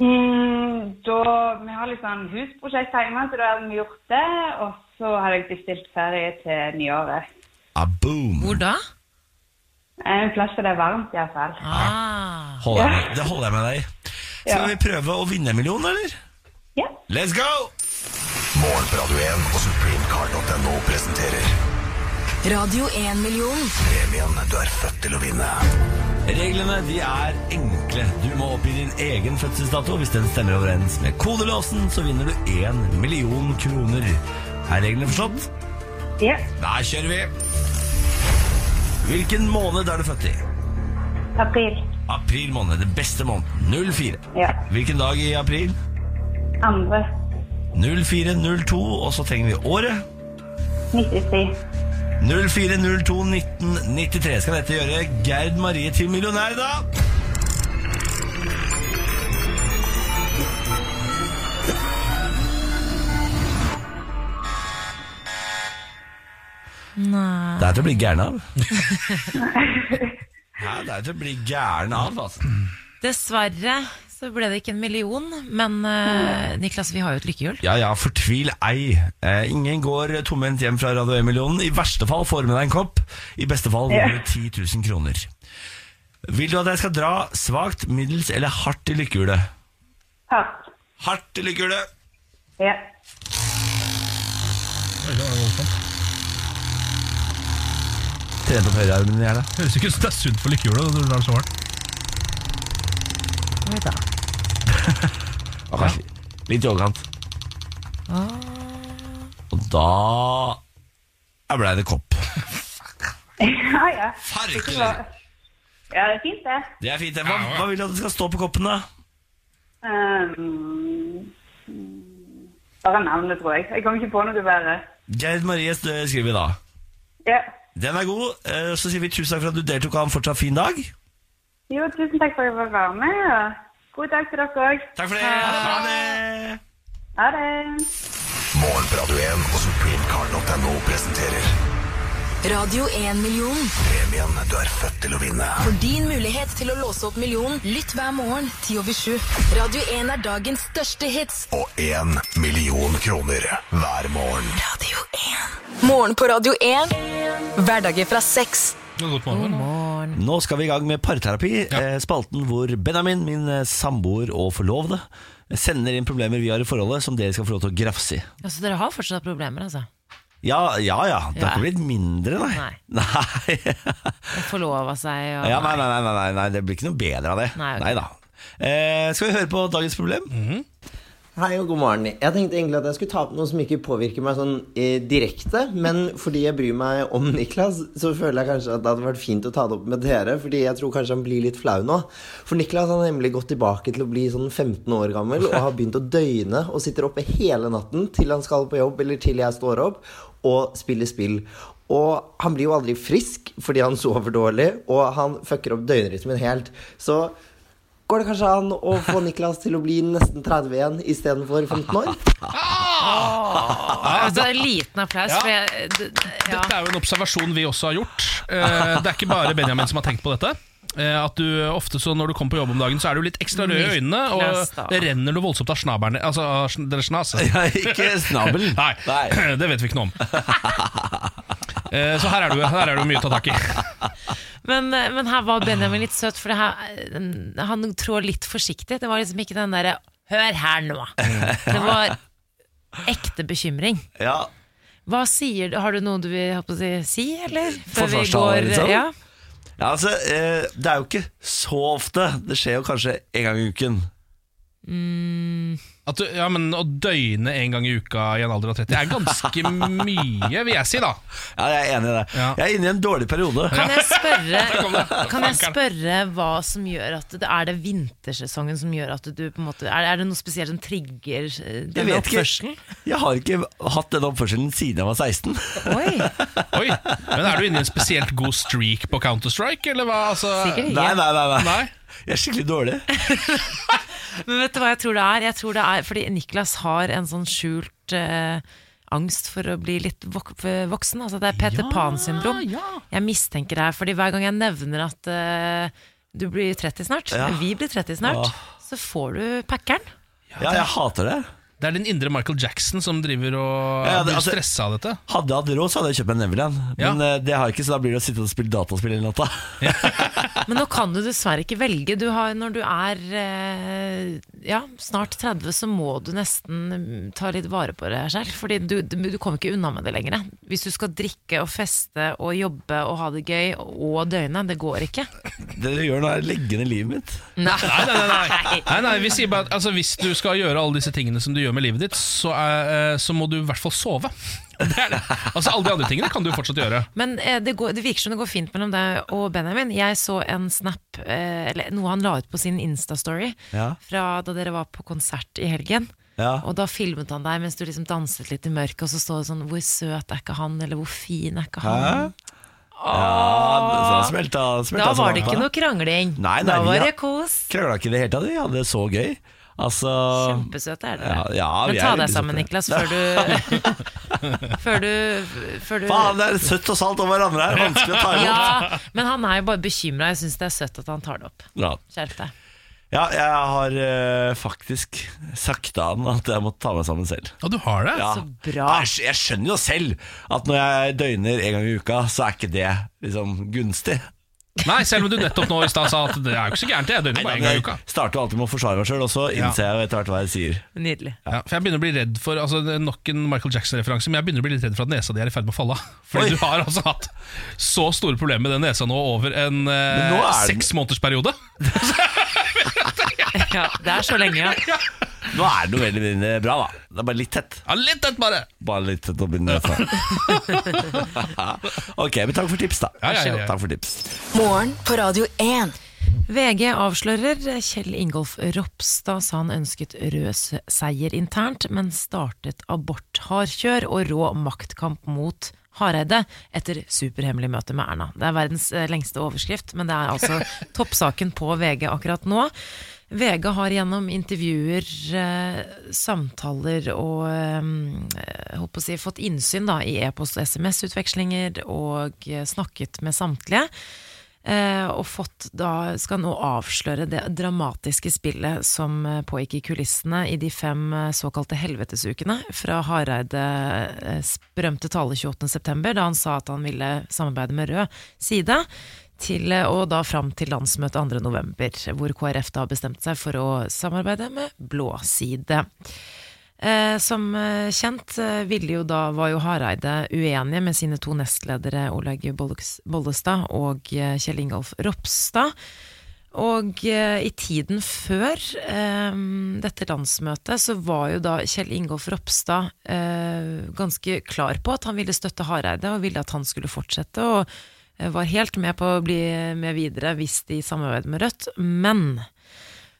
Speaker 11: Mm, da, vi har litt sånn husprosjekt hjemme, så da har vi gjort det. Og så har jeg bestilt ferie til nyåret.
Speaker 1: Ah, boom!
Speaker 3: Hvor da?
Speaker 11: En plass hvor det er varmt, iallfall.
Speaker 3: Ah.
Speaker 1: Holder jeg med. Det holder jeg med deg i. Skal
Speaker 11: Ja.
Speaker 1: vi prøve å vinne en million, eller?
Speaker 11: Ja.
Speaker 1: Let's go!
Speaker 12: Morgen på Radio 1 og supremecard.no presenterer
Speaker 4: Radio 1-million.
Speaker 12: premien du er født til å vinne.
Speaker 1: Reglene de er enkle. Du må oppgi din egen fødselsdato. Hvis den stemmer overens med kodelåsen, så vinner du én million kroner. Er reglene forstått?
Speaker 11: ja.
Speaker 1: Da kjører vi. Hvilken måned er du født i?
Speaker 11: April.
Speaker 1: April måned. Den beste måneden. 04.
Speaker 11: Ja.
Speaker 1: Hvilken dag i april?
Speaker 11: Andre.
Speaker 1: 0402, og så trenger vi året.
Speaker 11: 93.
Speaker 1: 04021993 skal dette gjøre Gerd Marie til millionær, da.
Speaker 3: Nei.
Speaker 1: Det er til å bli gæren av. Nei, det er til å bli gæren av, altså.
Speaker 3: Dessverre så ble det ikke en million, men eh, Niklas, vi har jo et lykkehjul.
Speaker 1: Ja ja, fortvil ei. Eh, ingen går tomhendt hjem fra Radio 1-millionen. I verste fall får du med deg en kopp. I beste fall vinner du 10 000 kroner. Vil du at jeg skal dra svakt, middels eller hardt i lykkehjulet?
Speaker 11: Hardt.
Speaker 1: Hardt i lykkehjulet.
Speaker 11: Ja.
Speaker 1: Trent opp høyrearmen i hjela.
Speaker 2: Høres ikke ut som det er sunt for lykkehjulet når du drar så hardt.
Speaker 3: Oi da.
Speaker 1: Ja, kanskje, Litt i overkant. Og da ja, blei det kopp.
Speaker 11: Ja, ja. Farkelig! Ja, det er fint, det.
Speaker 1: Det er fint. det. Hva, hva vil du at det skal stå på koppen, da?
Speaker 11: Ehm, mm, bare navnet, tror jeg. Jeg kom ikke på noe bedre.
Speaker 1: Gerd Marie Stø skriver vi da.
Speaker 11: Ja.
Speaker 1: Den er god. Eh, Så sier vi tusen takk for at du deltok, og ha en fortsatt fin dag.
Speaker 11: Jo, tusen takk for at jeg fikk være med. Og god dag til dere òg.
Speaker 1: Takk for det. Ha det.
Speaker 11: Ha det.
Speaker 12: Morgen på Radio 1 og supremecard.no presenterer
Speaker 4: Radio 1-million.
Speaker 12: premien du er født til å vinne.
Speaker 4: For din mulighet til å låse opp millionen, lytt hver morgen 10 over 7. Radio 1 er dagens største hits.
Speaker 12: Og én million kroner hver morgen. Radio 1.
Speaker 4: Morgen på Radio 1. Hverdager fra seks.
Speaker 2: God
Speaker 1: Nå skal vi i gang med parterapi, eh, spalten hvor Benjamin, min eh, samboer og forlovede, sender inn problemer vi har i forholdet som dere skal få lov til å grafse i.
Speaker 3: Altså, dere har fortsatt problemer, altså.
Speaker 1: Ja, ja, ja. Det har
Speaker 3: Ja.
Speaker 1: ikke blitt mindre, nei. Nei.
Speaker 3: Forlova seg og
Speaker 1: Ja, nei, nei, nei, nei, nei, det blir ikke noe bedre av det.
Speaker 3: Nei, ok.
Speaker 1: da. Eh, skal vi høre på dagens problem?
Speaker 13: Hei og god morgen. Jeg tenkte egentlig at jeg skulle ta opp noe som ikke påvirker meg sånn eh, direkte, men fordi jeg bryr meg om Niklas, så føler jeg kanskje at det hadde vært fint å ta det opp med dere, fordi jeg tror kanskje han blir litt flau nå. For Niklas har nemlig gått tilbake til å bli sånn 15 år gammel og har begynt å døgne og sitter oppe hele natten til han skal på jobb eller til jeg står opp, og spiller spill. Og han blir jo aldri frisk fordi han sover dårlig, og han fucker opp døgnrytmen helt. Så Går det kanskje an å få Niklas til å bli nesten 30 igjen istedenfor 15 år?
Speaker 3: Altså, en liten applaus.
Speaker 2: Ja.
Speaker 3: For jeg, d- d- ja.
Speaker 2: Dette er jo en observasjon vi også har gjort. Eh, Det er ikke bare Benjamin som har tenkt på dette. Eh, At du ofte så Når du kommer på jobb om dagen, så er du litt ekstra rød i øynene,
Speaker 1: Niklas, da.
Speaker 2: og det renner noe voldsomt av snaberne Altså av sn- deres snas.
Speaker 1: ikke snabelen.
Speaker 2: Nei, det vet vi ikke noe om. Eh, Så her er det jo- her er det jo mye å ta tak i.
Speaker 3: Men, eh, men her var Benjamin litt søt, for det her, eh, han trår litt forsiktig. Det var liksom ikke den derre 'hør her nå'. Det var ekte bekymring.
Speaker 1: Ja.
Speaker 3: Hå sier du? Har du noe du vil holdt på å si, si, eller? Før vi
Speaker 1: Forsvarstale,
Speaker 3: går- eh,
Speaker 1: liksom?
Speaker 3: Ja.
Speaker 1: Ja, altså, eh, det er jo ikke så ofte. Det skjer jo kanskje en gang i uken.
Speaker 2: At du, ja, men Å døgne en gang i uka i en alder av 30 er ganske mye, vil jeg si, da.
Speaker 1: Ja, jeg er enig i det. Jeg er inne i en dårlig periode.
Speaker 3: Kan jeg spørre, kan jeg spørre hva som gjør at det Er det vintersesongen som gjør at du på en måte Er det, er det noe spesielt som trigger
Speaker 1: Jeg
Speaker 3: eh, denne
Speaker 1: vet
Speaker 3: oppførselen?
Speaker 1: ikke. Jeg har ikke hatt den oppførselen siden jeg var 16.
Speaker 2: Oi, Men er du inne i en spesielt god streak på Counter-Strike, eller hva? Altså,
Speaker 1: Sikkert ikke. Nei, nei, nei, nei. Jeg er skikkelig dårlig.
Speaker 3: Men vet du hva jeg tror det er? Jeg tror det er fordi Niklas har en sånn skjult eh, angst for å bli litt vok voksen. Altså det er Peter Pan-syndrom. Jeg mistenker det her, fordi hver gang jeg nevner at eh, du blir 30 snart,
Speaker 1: Ja.
Speaker 3: vi blir 30 snart,
Speaker 1: Åh.
Speaker 3: så får du packeren.
Speaker 1: Ja, jeg hater det.
Speaker 2: Det er din indre Michael Jackson som driver og
Speaker 1: Ja, det-
Speaker 2: blir
Speaker 1: altså-
Speaker 2: stressa av dette.
Speaker 1: Hadde jeg hatt råd, så hadde jeg kjøpt meg en Neverland. Men eh, det har jeg ikke, så da blir det å sitte og spille dataspill hele natta.
Speaker 3: Men nå kan du dessverre ikke velge. Du har, når du er eh, ja, snart 30, så må du nesten ta litt vare på deg selv. Fordi du, du kommer ikke unna med det lenger. Hvis du skal drikke og feste og jobbe og ha det gøy og døgne, det går ikke.
Speaker 1: Det dere gjør nå, er å legge ned livet mitt.
Speaker 3: Nei,
Speaker 2: nei, nei, nei. nei, nei vi sier bare at altså, Hvis du skal gjøre alle disse tingene som du gjør med livet ditt, så, er, eh, så må du i hvert fall sove. Det er det. Altså Alle de andre tingene kan du fortsatt gjøre.
Speaker 3: Men eh, det, går, det virker som det går fint mellom deg og Benjamin. Jeg så en snap, eh, eller noe han la ut på sin Insta-story,
Speaker 1: Ja.
Speaker 3: fra da dere var på konsert i helgen.
Speaker 1: Ja.
Speaker 3: Og da filmet han deg mens du liksom danset litt i mørket, og så står det sånn 'Hvor søt er ikke han?' eller 'Hvor fin er ikke han?'
Speaker 1: Ja, så smelta, smelta
Speaker 3: Ah. Da var
Speaker 1: sånn,
Speaker 3: det ikke
Speaker 1: da.
Speaker 3: noe krangling.
Speaker 1: Nei, nei,
Speaker 3: da
Speaker 1: vi
Speaker 3: var
Speaker 1: har-
Speaker 3: det kos.
Speaker 1: Krangla ikke i det hele tatt, vi hadde det så gøy. Altså,
Speaker 3: Kjempesøte er dere.
Speaker 1: Ja, ja, vi
Speaker 3: Men ta
Speaker 1: er
Speaker 3: deg
Speaker 1: veldig
Speaker 3: sammen,
Speaker 1: søte.
Speaker 3: Niklas, før du Før du, før du
Speaker 1: Faen, det er søtt og salt om hverandre her. Vanskelig å ta imot.
Speaker 3: Ja, men han er jo bare bekymra. Jeg syns det er søtt at han tar det opp.
Speaker 1: Ja.
Speaker 3: Skjerp deg.
Speaker 1: Ja, jeg har eh, faktisk sagt an at jeg må ta meg sammen selv.
Speaker 2: Ja, du har det?
Speaker 1: Ja.
Speaker 2: Så
Speaker 1: bra. Jeg, skj- jeg skjønner jo selv at når jeg døgner en gang i uka, så er ikke det liksom gunstig.
Speaker 2: Nei, selv om du nettopp nå i stad sa at det er jo ikke så gærent, jeg døgner bare en gang i uka.
Speaker 1: Jeg starter jo alltid med å forsvare meg sjøl, og så
Speaker 2: Ja.
Speaker 1: innser jeg jo etter hvert hva jeg sier.
Speaker 3: Nydelig.
Speaker 2: Ja, for jeg begynner å bli redd for altså, det er Nok en Michael Jackson-referanse, men jeg begynner å bli litt redd for at nesa di er i ferd med å falle av. Fordi du har altså hatt så store problemer med den nesa nå over en eh,
Speaker 1: Men nå er den-
Speaker 2: seks måneders periode.
Speaker 3: Ja, det er så lenge, ja.
Speaker 1: Nå er det noe veldig veldig bra, da. Det er bare litt tett.
Speaker 2: Ja, litt tett, bare.
Speaker 1: Bare litt tett oppi nesa. ok, men takk for tips, da.
Speaker 2: Ja, ja, ja, ja.
Speaker 1: Takk for tips.
Speaker 4: Morgen på Radio 1.
Speaker 3: VG avslører Kjell Ingolf Ropstad sa han ønsket rød se- seier internt, men startet aborthardkjør og rå maktkamp mot Hareide etter superhemmelig møte med Erna. Det er verdens eh, lengste overskrift, men det er altså toppsaken på VG akkurat nå. VG har gjennom intervjuer, eh, samtaler og eh, jeg holdt på å si, fått innsyn da, i e-post- og SMS-utvekslinger og eh, snakket med samtlige. Eh, og fått da, skal nå avsløre det dramatiske spillet som eh, pågikk i kulissene i de fem eh, såkalte helvetesukene fra Hareide eh, berømte tale 28.9., da han sa at han ville samarbeide med Rød side, til, eh, og da fram til landsmøtet 2.11., hvor KrF da bestemte seg for å samarbeide med Blå side. Eh, som eh, kjent eh, ville jo da, var jo Hareide uenige med sine to nestledere Olaug Bolleks- Bollestad og eh, Kjell Ingolf Ropstad. Og eh, i tiden før eh, dette landsmøtet så var jo da Kjell Ingolf Ropstad eh, ganske klar på at han ville støtte Hareide og ville at han skulle fortsette. Og eh, var helt med på å bli eh, med videre hvis de samarbeidet med Rødt. Men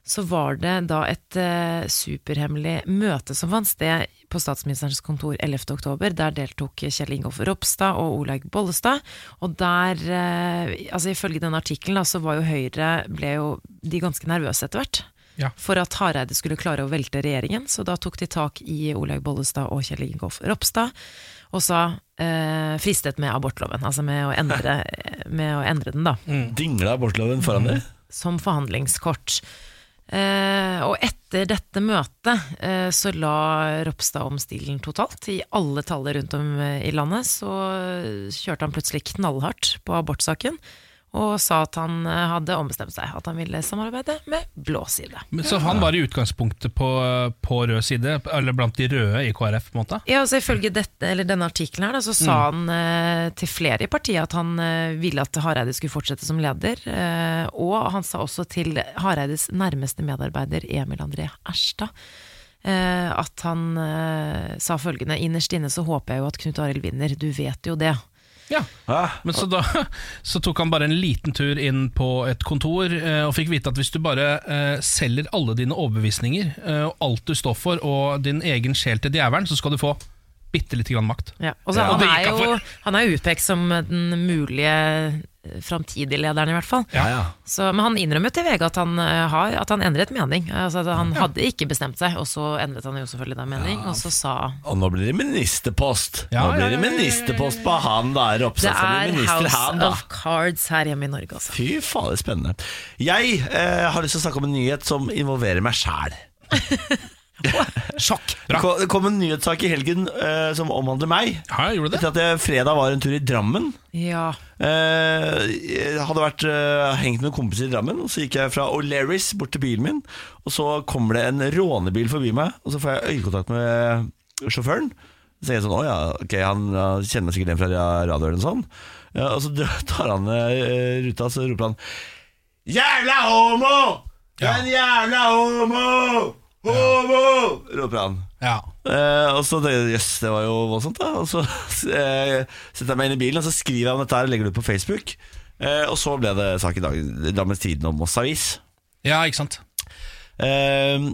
Speaker 3: så var det da et eh, superhemmelig møte som fant sted på statsministerens kontor 11. oktober. Der deltok Kjell Ingolf Ropstad og Olaug Bollestad. Og der, eh, altså ifølge den artikkelen, da, så var jo Høyre ble jo de ganske nervøse etter hvert.
Speaker 2: Ja.
Speaker 3: For at Hareide skulle klare å velte regjeringen. Så da tok de tak i Olaug Bollestad og Kjell Ingolf Ropstad. Og sa eh, fristet med abortloven, altså med å endre, eh, med å endre den, da
Speaker 1: Dingla abortloven foran dere?
Speaker 3: som forhandlingskort. Eh, og etter dette møtet eh, så la Ropstad om stilen totalt. I alle taller rundt om eh, i landet så eh, kjørte han plutselig knallhardt på abortsaken. Og sa at han eh, hadde ombestemt seg, at han ville samarbeide med blå side.
Speaker 2: Men Så han var i utgangspunktet på, på rød side, eller blant de røde i KrF? på en måte
Speaker 3: Ja, altså Ifølge dette, eller denne artikkelen her, da, så sa
Speaker 2: Mm.
Speaker 3: han eh, til flere i partiet at han eh, ville at Hareide skulle fortsette som leder. Eh, og han sa også til Hareides nærmeste medarbeider Emil André Erstad eh, at han eh, sa følgende Innerst inne så håper jeg jo at Knut Arild vinner, du vet jo det.
Speaker 2: Ja. Men så da så tok han bare en liten tur inn på et kontor eh, og fikk vite at hvis du bare eh, selger alle dine overbevisninger eh, og alt du står for, og din egen sjel til djevelen, så skal du få bitte lite grann makt.
Speaker 3: Ja, og så
Speaker 2: Ja. Og
Speaker 3: Han
Speaker 2: det
Speaker 3: er
Speaker 2: gikk han
Speaker 3: jo han er utpekt som den mulige eh, framtidige lederen, i hvert fall. Så, men han innrømmet til VG at han, eh, har, at han endret mening. Altså, at han hadde ikke bestemt seg, og så endret han jo selvfølgelig da mening. Og så sa
Speaker 1: Og nå blir det ministerpost.
Speaker 3: Ja,
Speaker 1: nå blir det
Speaker 3: ja, ja, ja, ja, ja, ja.
Speaker 1: ministerpost på han da,
Speaker 3: Det
Speaker 1: Ropstad. skal
Speaker 3: er
Speaker 1: bli minister,
Speaker 3: House
Speaker 1: han, da.
Speaker 3: of Cards her hjemme i Norge, altså.
Speaker 1: Fy fader, spennende. Jeg eh, har lyst til å snakke om en nyhet som involverer meg sjæl.
Speaker 2: Sjokk!
Speaker 1: Det kom, det kom en nyhetssak i helgen eh, som omhandler meg.
Speaker 2: Ja, gjorde det?
Speaker 1: Etter at jeg fredag var en tur i Drammen.
Speaker 3: Ja.
Speaker 1: Eh, jeg hadde vært eh, hengt med kompiser i Drammen, og så gikk jeg fra O'Lerris bort til bilen min. Og så kommer det en rånebil forbi meg, og så får jeg øyekontakt med sjåføren. Så tenker jeg sånn, å ja, ok, han, han kjenner meg sikkert igjen fra radioen eller sånn. Ja, og så tar han eh, ruta, så roper han Jævla homo! Du er en jævla homo! Homo! Roper han.
Speaker 2: Ja.
Speaker 1: Eh, og så tenkte jeg, jøss, det var jo voldsomt, da. Og så eh, setter jeg meg inn i bilen, og så skriver jeg om dette her og legger det ut på Facebook. Eh, og så ble det sak i dag, Drammens Tidende og Moss Avis.
Speaker 2: Ja, ikke sant?
Speaker 1: Eh,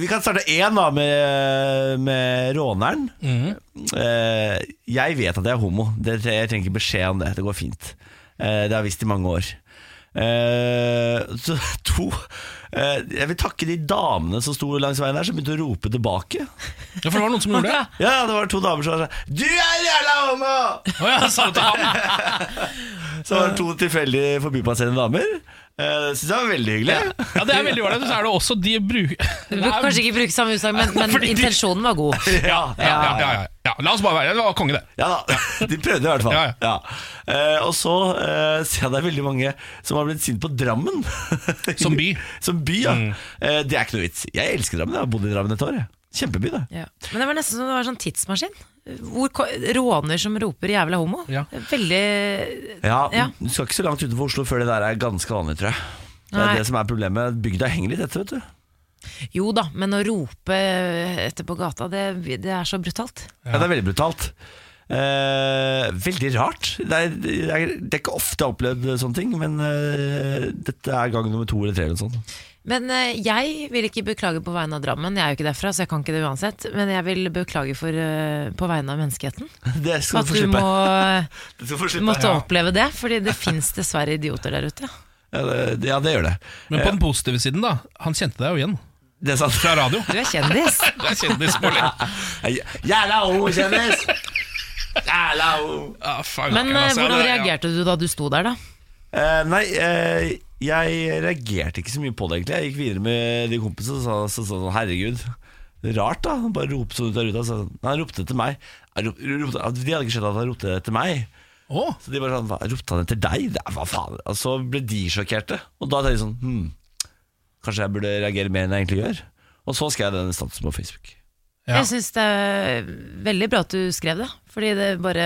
Speaker 1: vi kan starte én, da, med, med råneren. Eh, jeg vet at jeg er homo. Det, jeg trenger ikke beskjed om det. Det går fint. Eh, det har jeg visst i mange år. Eh, så to eh, Jeg vil takke de damene som sto langs veien der, som begynte å rope tilbake.
Speaker 2: Ja, for det var noen som gjorde det?
Speaker 1: Ja, det var to damer som sa 'Du er en jævla homo!'
Speaker 2: Å ja, sa du til ham?
Speaker 1: Så var det to tilfeldig forbipasserende damer. Eh, det syns jeg var veldig hyggelig.
Speaker 2: Ja, det er veldig ålreit. Så er det også de bruk...
Speaker 3: Du burde kanskje ikke bruke samme utsagn, men, men
Speaker 2: Fordi de-
Speaker 3: intensjonen var god.
Speaker 1: Ja,
Speaker 2: ja, ja, ja, ja. ja, la oss bare være Det var konge, det.
Speaker 1: Ja da, de prøvde i hvert fall. Ja, Eh, og så eh, ser jeg det er veldig mange som har blitt sint på Drammen.
Speaker 2: Som by.
Speaker 1: Som by, ja. Eh, det er ikke noe vits. Jeg elsker Drammen, jeg har bodd i Drammen et år. jeg. Kjempeby, det.
Speaker 3: Ja. Men det var nesten som det var sånn tidsmaskin. Hvor ko- Råner som roper 'jævla homo'. Veldig
Speaker 1: Ja,
Speaker 3: Ja.
Speaker 1: Du skal ikke så langt utenfor Oslo før det der er ganske vanlig, tror jeg. Det er
Speaker 3: Nei.
Speaker 1: det som er problemet. Bygda henger litt etter, vet du.
Speaker 3: Jo da, men å rope etter på gata, det, det er så brutalt.
Speaker 1: Ja. det er veldig brutalt. Eh, veldig rart. Det er, det, er, det er ikke ofte jeg har opplevd sånne ting, men eh, dette er gang nummer to eller tre. eller noe sånt.
Speaker 3: Men eh, jeg vil ikke beklage på vegne av Drammen, jeg er jo ikke derfra, så jeg kan ikke det uansett. Men jeg vil beklage for, eh, på vegne av menneskeheten.
Speaker 1: Det skal
Speaker 3: At
Speaker 1: du få
Speaker 3: du
Speaker 1: slippe.
Speaker 3: må,
Speaker 1: Du skal få slippe,
Speaker 3: måtte
Speaker 1: ja.
Speaker 3: oppleve det, fordi det fins dessverre idioter der ute.
Speaker 1: Ja, det, ja, det gjør det.
Speaker 2: Men på den positive siden, da. Han kjente deg jo igjen.
Speaker 1: Det er sant.
Speaker 2: Fra radio.
Speaker 3: Du er kjendis.
Speaker 2: du er kjendis, Molly.
Speaker 1: Jævla ho,
Speaker 2: kjendis!
Speaker 1: Jævla ho.
Speaker 2: Ja, faen,
Speaker 3: Men
Speaker 2: altså,
Speaker 3: eh, hvordan
Speaker 2: det er- ja.
Speaker 3: reagerte du da du sto der, da?
Speaker 1: Eh, nei, eh, jeg reagerte ikke så mye på det, egentlig. Jeg gikk videre med de kompisene og sa så, så, sånn Herregud, rart, da. Han bare ropte sånn ut av ruta. Så, nei, han ropte etter meg. Han rop- ropte- at de hadde ikke skjønt at han ropte etter meg. Så de bare sånn "Hva, Ropte han etter deg? Det er- Hva faen? Og så ble de sjokkerte. Og da tenkte jeg sånn hm, Kanskje jeg burde reagere mer enn jeg egentlig gjør. Og så skrev jeg den statusen på Facebook.
Speaker 3: Jeg syns det er veldig bra at du skrev det, fordi det bare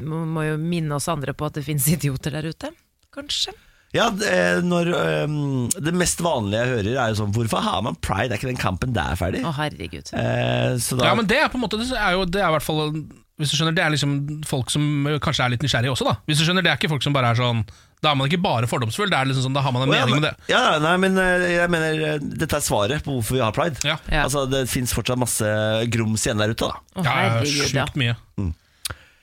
Speaker 3: må, må jo minne oss andre på at det fins idioter der ute, kanskje.
Speaker 1: Ja, d- eh, når, øhm, Det mest vanlige jeg hører, er jo sånn Hvorfor har man pride? Er ikke den kampen der ferdig?
Speaker 3: Å, herregud.
Speaker 1: Eh, så da,
Speaker 2: Ja, men det er på en måte Det er jo det er i hvert fall Hvis du skjønner, det er liksom folk som eh, kanskje er litt nysgjerrige også, da. Hvis du skjønner, det er ikke folk som bare er sånn Da er man ikke bare fordomsfull, det er liksom sånn, da har man
Speaker 1: Å,
Speaker 2: en
Speaker 1: ja,
Speaker 2: mening
Speaker 1: men-
Speaker 2: med det.
Speaker 1: Ja, ja, nei, men eh, jeg mener eh, Dette er svaret på hvorfor vi har pride. Altså, Det fins fortsatt masse grums igjen der ute, da.
Speaker 2: Å, Ja, ja, herregud, sjukt ja. mye.
Speaker 1: Mm.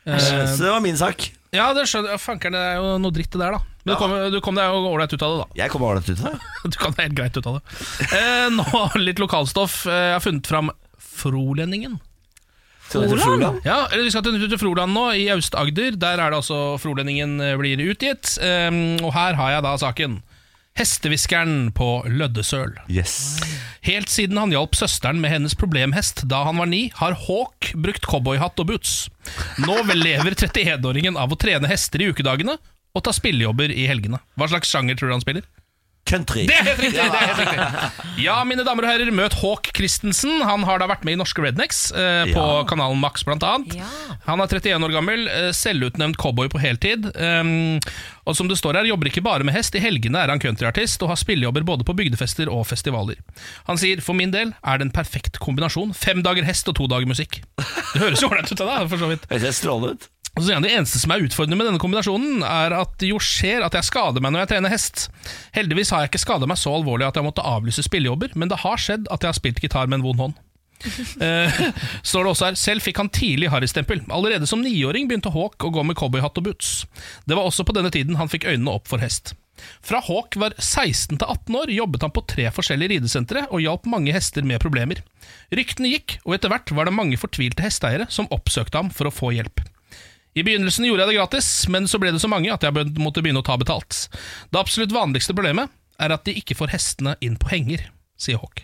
Speaker 2: Eh,
Speaker 1: så det var min sak.
Speaker 2: Ja, det skjønner jeg. Fankeren, det er jo noe dritt det der, da. Men
Speaker 1: Ja.
Speaker 2: du kom, du kom deg jo ålreit ut av det, da.
Speaker 1: Jeg kommer ålreit ut av det.
Speaker 2: Du kom deg helt greit ut av det. Eh, nå litt lokalstoff. Eh, jeg har funnet fram Frolendingen.
Speaker 1: Skal du til Froland?
Speaker 2: Ja, eller vi skal til, til Froland nå, i Aust-Agder. Der er det altså Frolendingen eh, blir utgitt. Ehm, og her har jeg da saken. Hestehviskeren på Løddesøl.
Speaker 1: Yes.
Speaker 2: Helt siden han hjalp søsteren med hennes problemhest da han var ni, har Hawk brukt cowboyhatt og boots. Nå vel lever 31-åringen av å trene hester i ukedagene og ta spillejobber i helgene. Hva slags sjanger tror du han spiller?
Speaker 1: Country.
Speaker 2: Det er helt riktig! Det er helt riktig. Ja, mine damer og herrer, møt Hawk Christensen. Han har da vært med i Norske Rednecks, eh, på
Speaker 1: Ja.
Speaker 2: kanalen Max blant annet. Han er 31 år gammel, eh, selvutnevnt cowboy på heltid. Um, og som det står her, jobber ikke bare med hest. I helgene er han countryartist og har spillejobber både på bygdefester og festivaler. Han sier for min del er det en perfekt kombinasjon. Fem dager hest og to dager musikk. Det høres jo ålreit ut av deg, for så vidt.
Speaker 1: Høres helt strålende ut.
Speaker 2: Og så sier han, Det eneste som er utfordrende med denne kombinasjonen, er at det jo skjer at jeg skader meg når jeg trener hest. Heldigvis har jeg ikke skada meg så alvorlig at jeg måtte avlyse spillejobber, men det har skjedd at jeg har spilt gitar med en vond hånd. Eh, Står det også her Selv fikk han tidlig harrystempel. Allerede som niåring begynte Hawk å gå med cowboyhatt og boots. Det var også på denne tiden han fikk øynene opp for hest. Fra Hawk var 16 til 18 år, jobbet han på tre forskjellige ridesentre og hjalp mange hester med problemer. Ryktene gikk, og etter hvert var det mange fortvilte hesteeiere som oppsøkte ham for å få hjelp. I begynnelsen gjorde jeg det gratis, men så ble det så mange at jeg bød- måtte begynne å ta betalt. Det absolutt vanligste problemet er at de ikke får hestene inn på henger, sier Hawk.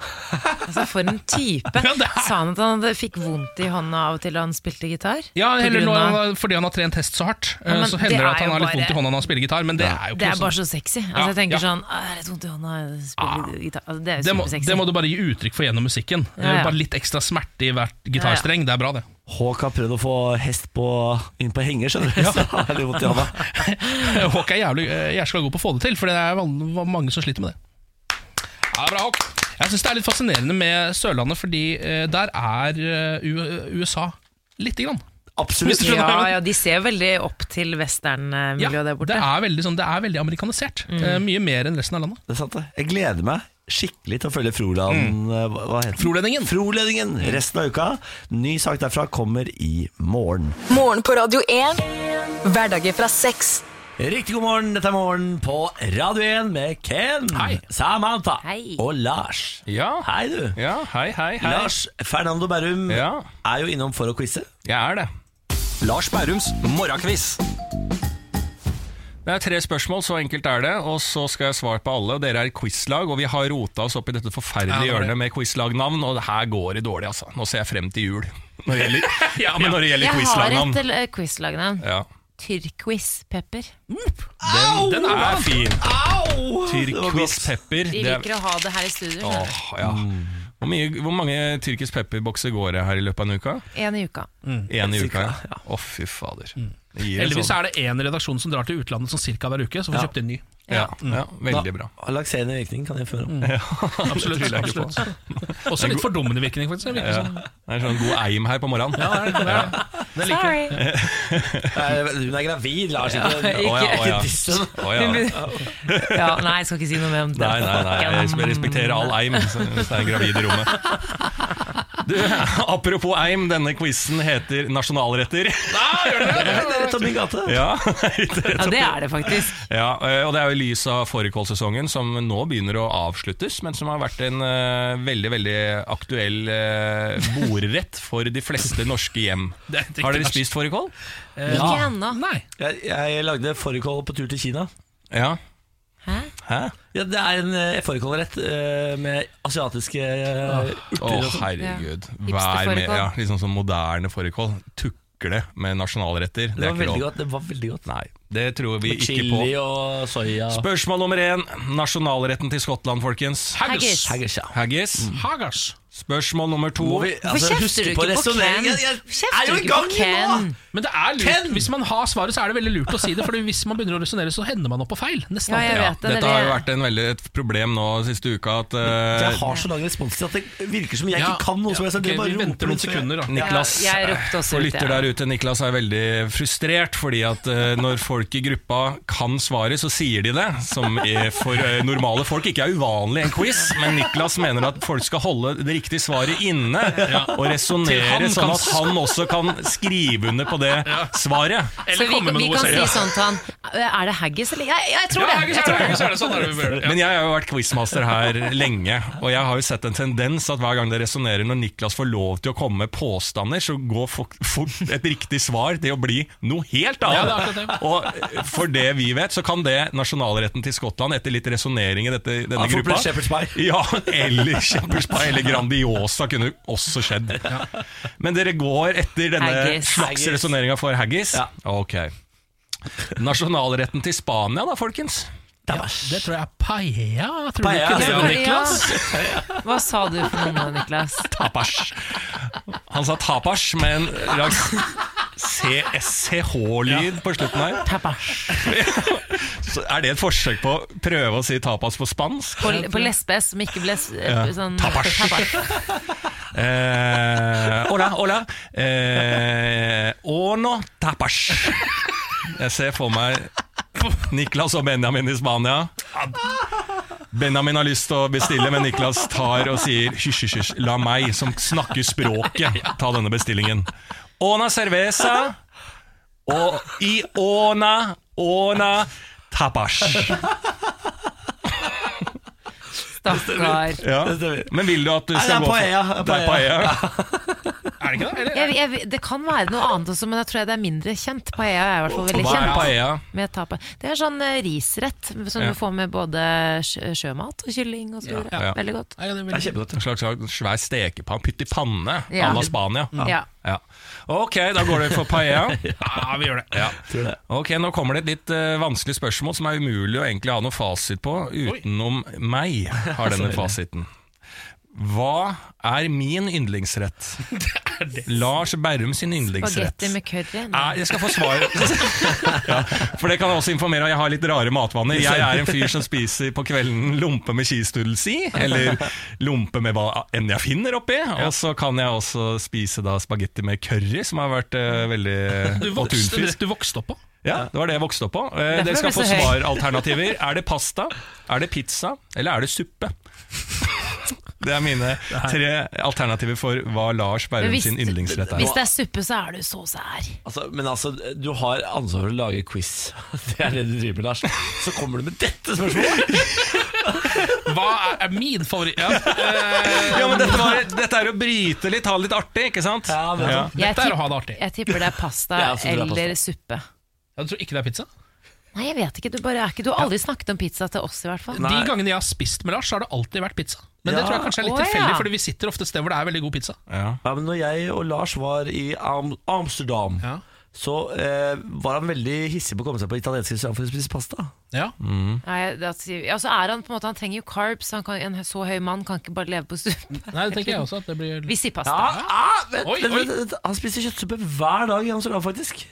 Speaker 3: Altså, For en type! Sa han at han hadde- fikk vondt i hånda av og til da han spilte gitar?
Speaker 2: Ja,
Speaker 3: På
Speaker 2: heller
Speaker 3: grunn
Speaker 2: nå,
Speaker 3: av-
Speaker 2: Fordi han har trent hest så hardt, eh,
Speaker 3: Ja, men
Speaker 2: så
Speaker 3: det
Speaker 2: hender det at
Speaker 3: er
Speaker 2: han
Speaker 3: jo
Speaker 2: har litt vondt i
Speaker 3: bare-
Speaker 2: hånda når han spiller gitar, men det er jo
Speaker 3: Det
Speaker 2: ikke
Speaker 3: er
Speaker 2: noe
Speaker 3: bare
Speaker 2: sånn-
Speaker 3: så sexy. Altså,
Speaker 2: Ja,
Speaker 3: jeg tenker
Speaker 2: ja. Ah.
Speaker 3: sånn «Å, jeg har Litt vondt i hånda, jeg spiller gitar altså, Det er
Speaker 2: det
Speaker 3: jo
Speaker 2: må,
Speaker 3: supersexy.
Speaker 2: det må du bare gi uttrykk for gjennom musikken. Eh,
Speaker 3: Ja, ja.
Speaker 2: Bare litt ekstra smerte i hvert gitarstreng. Det er bra, det.
Speaker 1: Hawk har prøvd å få hest på, inn på henger, skjønner du. Så har jeg litt vondt i hånda.
Speaker 2: Hawk er jævlig eh, Jeg skal gå på å få det til, for det er van- mange som sliter med det. Ja, det er bra, Hawk. Jeg syns det er litt fascinerende med Sørlandet, fordi eh, der er eh, U- USA lite grann. Hvis du skjønner hva jeg
Speaker 3: Ja,
Speaker 2: mener.
Speaker 3: ja, de ser veldig opp til westernmiljøet der borte.
Speaker 2: Det er veldig, sånn, det er veldig amerikanisert. Eh, mye mer enn resten av landet.
Speaker 1: Det er sant, det. Jeg gleder meg skikkelig til å følge Froland
Speaker 2: Mm.
Speaker 1: eh, hva, hva heter den?
Speaker 2: Froledningen.
Speaker 1: Froledningen resten av uka. Ny sak derfra kommer i morgen.
Speaker 4: Morgen på Radio 1. Hverdager fra seks.
Speaker 1: Riktig god morgen, dette er morgen på Radio 1 med Ken, Samantha og Lars. Hei, du. Lars Fernando Berrum er jo innom for å quize.
Speaker 2: Jeg er det.
Speaker 14: Lars Bærums morgenquiz. Det er tre spørsmål, så enkelt er det. Og så skal jeg svare på alle. Dere er quizlag, og vi har rota oss opp i dette
Speaker 2: Ja,
Speaker 14: forferdelige
Speaker 2: det var det.
Speaker 14: hjørnet med quizlagnavn. Og det her går det dårlig, altså. Nå ser jeg frem til jul. Når det gjelder,
Speaker 2: Ja,
Speaker 14: men når det gjelder
Speaker 3: Jeg har
Speaker 14: quizlagnavn.
Speaker 3: et eh, quizlagnavn.
Speaker 14: Ja.
Speaker 3: Tyrkis-pepper.
Speaker 14: Den, den
Speaker 2: Au!
Speaker 14: er fin.
Speaker 2: Au!
Speaker 14: Tyrkis pepper.
Speaker 3: Vi
Speaker 14: det er-
Speaker 3: liker å ha det her i studio. skjønner
Speaker 14: Åh, ja. Hvor, mye, hvor mange tyrkisk pepperbokser går det her i løpet av en uke?
Speaker 3: du. En i uka.
Speaker 14: Én i uka, ja. Å, fy fader. Det gir en
Speaker 2: Heldigvis
Speaker 14: sånn-
Speaker 2: er det én redaksjon som drar til utlandet sånn cirka hver uke, så får vi kjøpt en ny.
Speaker 14: Ja, ja, veldig bra.
Speaker 1: Da- Lakserende virkning kan jeg føre om.
Speaker 14: Ja, absolutt,
Speaker 1: Tviler jeg ikke
Speaker 14: absolutt.
Speaker 1: på.
Speaker 2: Også litt fordummende virkning, faktisk. Det virker
Speaker 14: Ja.
Speaker 2: sånn.
Speaker 14: Det er sånn god eim her på morgenen.
Speaker 2: Ja, det er det. Det er det. Det liker jeg.
Speaker 1: Nei, Hun er gravid, Lars.
Speaker 3: Ja,
Speaker 1: Ikke,
Speaker 3: ikke-
Speaker 1: Å ja, å ja.
Speaker 3: ikke diss henne.
Speaker 1: Å ja.
Speaker 3: Ja, nei, jeg skal ikke si noe mer om det.
Speaker 14: Nei, nei, nei, jeg respekterer all eim så- hvis det er en gravid i rommet. Du, apropos eim, denne quizen heter Nasjonalretter.
Speaker 1: Det er rett opp min gate.
Speaker 14: Ja, rett opp-
Speaker 3: Ja, det er det faktisk.
Speaker 14: Ja, eh, og det er jo i lys av fårikålsesongen som nå begynner å avsluttes, men som har vært en eh, veldig, veldig aktuell eh, bordrett for de fleste norske hjem.
Speaker 2: Det er riktig,
Speaker 14: Har dere
Speaker 2: Lars.
Speaker 14: spist fårikål?
Speaker 2: Eh,
Speaker 3: Ikke ennå.
Speaker 1: Jeg, jeg lagde fårikål på tur til Kina.
Speaker 14: Ja.
Speaker 3: Hæ?
Speaker 14: Hæ?
Speaker 1: Ja, det er en eh, fårikålrett eh, med asiatiske eh, urter.
Speaker 14: Å,
Speaker 1: og sånn.
Speaker 14: herregud.
Speaker 1: Ja.
Speaker 14: Vær med.
Speaker 1: Hipsterfårikål.
Speaker 14: Ja, liksom sånn moderne fårikål. Tukle med nasjonalretter.
Speaker 1: Det
Speaker 14: er
Speaker 1: var
Speaker 14: ikke
Speaker 1: veldig
Speaker 14: lov.
Speaker 1: godt. Det var veldig godt.
Speaker 14: Nei, det tror vi
Speaker 1: Og
Speaker 14: ikke på.
Speaker 1: chili og soya.
Speaker 14: Spørsmål nummer én. Nasjonalretten til Skottland, folkens.
Speaker 1: Haggis. Haggis, ja.
Speaker 14: Haggis.
Speaker 2: Haggis.
Speaker 14: Spørsmål nummer to.
Speaker 1: Må vi- Hvorfor altså, kjefter husk du på ikke på resoneringen. Ken? Jeg- jeg er jo i gang nå!
Speaker 2: Men det er lurt,
Speaker 1: Ken!
Speaker 2: hvis man har svaret, så er det veldig lurt å si det. For hvis man begynner å resonnere, så hender man opp på feil. Nesten alltid.
Speaker 14: Dette har jo vært en veldig, et problem nå siste uka. At, eh,
Speaker 1: Jeg har så lang responstid at det virker som jeg
Speaker 2: Ja,
Speaker 1: ikke kan noe som helst.
Speaker 2: ok,
Speaker 1: Det bare
Speaker 2: vi
Speaker 1: roper
Speaker 2: venter noen
Speaker 1: ut, så jeg-
Speaker 2: sekunder, da.
Speaker 14: Niklas,
Speaker 2: Ja, jeg ropte også
Speaker 14: for
Speaker 2: ut,
Speaker 14: lytter
Speaker 2: ja.
Speaker 14: der ute, Niklas er veldig frustrert fordi at eh, når folk i gruppa kan svaret, så sier de det. Som er for eh, normale folk ikke er uvanlig i en quiz, men Niklas mener at folk skal holde det riktige svaret inne
Speaker 2: Ja.
Speaker 14: og
Speaker 2: Til han
Speaker 14: resonnere
Speaker 2: kan-
Speaker 14: sånn at han også kan skrive under på det svaret.
Speaker 3: Så vi, vi kan si sånn til han Er det haggis, eller? Jeg, jeg tror
Speaker 2: Ja,
Speaker 3: det.
Speaker 2: haggis
Speaker 3: Jeg
Speaker 2: er
Speaker 3: tror
Speaker 2: det, haggis er det, sånn er det vi bør gjøre.
Speaker 14: Men jeg har jo vært quizmaster her lenge, og jeg har jo sett en tendens at hver gang det resonnerer når Niklas får lov til å komme med påstander, så går fort, fort et riktig svar til å bli noe helt
Speaker 2: Ja, det
Speaker 14: annet.
Speaker 2: er akkurat det.
Speaker 14: og for det vi vet, så kan det nasjonalretten til Skottland, etter litt resonnering i dette, denne
Speaker 1: Ja, for
Speaker 14: gruppa
Speaker 1: Black Shepherd's Pie.
Speaker 14: Ja, eller Shepherd's Pie, eller Grandiosa kunne også skjedd. Men dere går etter denne
Speaker 2: Haggis.
Speaker 14: slags
Speaker 2: Haggis.
Speaker 14: resonneringa for haggis? Ok. Nasjonalretten til Spania da, folkens?
Speaker 2: Det tror jeg er paella. Tror
Speaker 14: Paella.
Speaker 2: du ikke
Speaker 14: Ja,
Speaker 2: det, Niklas?
Speaker 3: det. Hva sa du for noe nå, Niklas?
Speaker 14: Tapas. Han sa tapas med en slags CSCH-lyd på slutten her.
Speaker 3: Tapas.
Speaker 14: Så er det et forsøk på å prøve å si tapas på spansk?
Speaker 3: På, på lesbes, som ikke ble s-
Speaker 14: Ja.
Speaker 3: sånn
Speaker 14: Tapas. Eh, hola, hola. Eh, ono tapas. Jeg ser for meg Niklas og Benjamin i Spania. Benjamin har lyst til å bestille, men Niklas tar og sier hysj, hysj, hysj, la meg, som snakker språket, ta denne bestillingen. Ona cerveza og i
Speaker 2: Ah.
Speaker 14: ona, ona tapas.
Speaker 3: Stakkar.
Speaker 14: Ja. Men vil du at du
Speaker 2: Ah,
Speaker 3: Nei,
Speaker 14: skal
Speaker 3: det er
Speaker 14: gå
Speaker 1: E,
Speaker 14: for
Speaker 3: paella,
Speaker 2: E,
Speaker 14: E.
Speaker 3: det er paella.
Speaker 14: Er det ikke det?
Speaker 3: Jeg, jeg, det kan være noe annet også, men jeg tror jeg det er mindre kjent. Paella er i hvert fall veldig
Speaker 14: Hva er
Speaker 3: kjent.
Speaker 14: paella?
Speaker 3: Med tapa. Det er sånn eh, risrett som
Speaker 14: Ja.
Speaker 3: du får med både sjø- sjømat og kylling og så videre.
Speaker 14: Ja.
Speaker 3: Veldig godt.
Speaker 14: Det er kjempegodt. En slags svær stekepanne. Pytt i panne
Speaker 3: Ja.
Speaker 14: à la Spania.
Speaker 3: Ja.
Speaker 14: Ja. Ok, da går dere for paella.
Speaker 2: Ja, vi gjør det.
Speaker 14: Ja. Ok, Nå kommer det et litt eh, vanskelig spørsmål som er umulig å egentlig ha noe fasit på utenom meg. har denne
Speaker 2: Sorry.
Speaker 14: fasiten. Hva er min yndlingsrett? Lars Berrum sin yndlingsrett.
Speaker 3: Spagetti med curry. Nei.
Speaker 14: Nei, jeg skal få svar. ja, for det kan jeg også informere om. Jeg har litt rare matvaner. Jeg er en fyr som spiser på kvelden lompe med kistudelsi, eller lompe med hva enn jeg finner oppi. Og så kan jeg også spise da spagetti med curry, som har vært eh, veldig
Speaker 2: Du
Speaker 14: Og
Speaker 2: vokste,
Speaker 14: tunfisk.
Speaker 2: du vokste opp på?
Speaker 14: Ja, det var det jeg vokste opp på. Eh,
Speaker 2: Derfor
Speaker 14: dere skal
Speaker 2: er
Speaker 14: få
Speaker 2: du så høy.
Speaker 14: svaralternativer. Er det pasta, er det pizza, eller er det suppe? Det er mine tre alternativer for hva Lars
Speaker 3: Men
Speaker 14: Berrum sin yndlingsrett er.
Speaker 3: Hvis det er suppe, så er det jo så sær.
Speaker 1: Altså, men altså, du har ansvar for å lage quiz. Det er det du driver med, Lars. Så kommer du med dette spørsmålet!
Speaker 2: Hva er, er min favoritt? Ja, Eh,
Speaker 14: Ja, men dette, var, dette er å bryte litt, ha det litt artig, ikke sant? Ja,
Speaker 2: men-
Speaker 3: Jeg
Speaker 2: Dette er å
Speaker 3: tipp-
Speaker 2: ha det artig.
Speaker 3: Jeg tipper det er pasta
Speaker 2: Ja, jeg tror det er
Speaker 3: eller
Speaker 2: pasta.
Speaker 3: suppe.
Speaker 2: Ja, du tror ikke det er pizza?
Speaker 3: Nei, jeg vet ikke. Du, bare er ikke. du har aldri snakket om pizza til oss, i hvert fall.
Speaker 2: De gangene jeg har spist med Lars, så har det alltid vært pizza. Men det
Speaker 1: Ja.
Speaker 2: tror jeg kanskje er
Speaker 3: Å,
Speaker 2: litt
Speaker 3: ja.
Speaker 2: tilfeldig, fordi vi sitter ofte et sted hvor det er veldig god pizza.
Speaker 14: Ja.
Speaker 1: men når jeg og Lars var i Am Amsterdam, så eh, var han veldig hissig på å komme seg på italiensk restaurant for å spise pasta.
Speaker 2: Ja.
Speaker 3: Nei, det er- ja, så er han på en måte Han trenger jo carbs. Han kan, en så høy mann kan ikke bare leve på suppe.
Speaker 2: Nei, det tenker jeg også. At det blir...
Speaker 3: Vi sier pasta.
Speaker 1: Ja, ah, vent,
Speaker 2: Oi,
Speaker 1: vent,
Speaker 2: oi.
Speaker 1: vent, vent. Han spiser kjøttsuppe hver dag i Amsterdam, faktisk.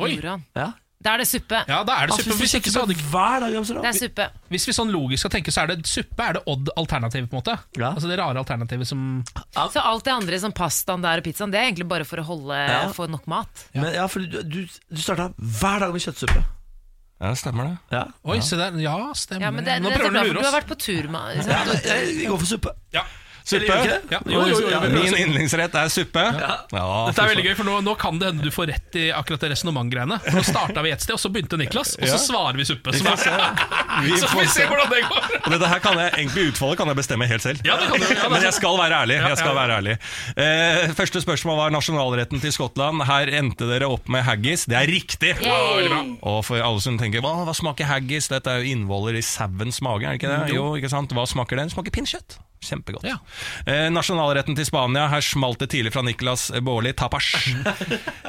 Speaker 2: Oi.
Speaker 3: Gjorde han?
Speaker 1: Ja.
Speaker 3: Da er det suppe.
Speaker 2: Ja, da er det suppe. Hvis ikke så hadde ikke
Speaker 1: Hver dag i Amsterdam.
Speaker 3: Det er suppe.
Speaker 2: Hvis vi sånn logisk skal tenke, så er det suppe er det odd-alternativet. på en måte Altså Det rare alternativet som
Speaker 3: Så alt det andre, som pastaen der og pizzaen, det er egentlig bare for å holde
Speaker 1: Ja.
Speaker 3: for nok mat.
Speaker 1: Men ja, for du, du, du starta hver dag med kjøttsuppe.
Speaker 14: Ja, stemmer det.
Speaker 1: Ja.
Speaker 2: Oi, se der. Ja, stemmer
Speaker 3: Ja, men det,
Speaker 2: Nå
Speaker 3: det er så
Speaker 2: prøver
Speaker 3: bra,
Speaker 2: han å
Speaker 3: for
Speaker 2: lure
Speaker 3: du har
Speaker 2: oss.
Speaker 3: vært på tur med
Speaker 1: Ja, men, eh, vi går for suppe.
Speaker 14: Suppe?
Speaker 1: Eller gjør vi ikke det?
Speaker 14: Ja.
Speaker 1: Jo, jo, jo, vi prøver
Speaker 14: Min
Speaker 1: suppe.
Speaker 14: yndlingsrett er suppe.
Speaker 2: Ja.
Speaker 14: Ja,
Speaker 2: Dette er veldig gøy, for nå, nå kan det hende du får rett i akkurat det resonnementgreiene. Nå starta vi et sted, og så begynte Niklas, og
Speaker 14: Ja.
Speaker 2: så svarer vi suppe.
Speaker 14: Vi
Speaker 2: Så,
Speaker 14: får se. Vi
Speaker 2: så får
Speaker 14: får
Speaker 2: vi se
Speaker 14: se.
Speaker 2: hvordan det går.
Speaker 14: Og dette her kan jeg, egentlig utfallet kan jeg bestemme helt selv.
Speaker 2: Ja, det kan du, ja, det er
Speaker 14: Men jeg
Speaker 2: sant.
Speaker 14: skal være ærlig.
Speaker 2: Ja,
Speaker 14: Jeg skal
Speaker 2: ja.
Speaker 14: være ærlig. Eh, første spørsmål var nasjonalretten til Skottland. Her endte dere opp med haggis. Det er riktig!
Speaker 2: Ja, veldig bra.
Speaker 14: Og for alle som tenker hva, hva smaker haggis? Dette er jo innvoller i sauens mage, er det ikke
Speaker 2: Mm,
Speaker 14: det?
Speaker 2: jo.
Speaker 14: Jo, ikke sant? Hva smaker det? Det smaker pinnkjøtt. Kjempegodt. Eh, nasjonalretten til Spania. Her smalt det tidlig fra Niklas Baarli. Tapas.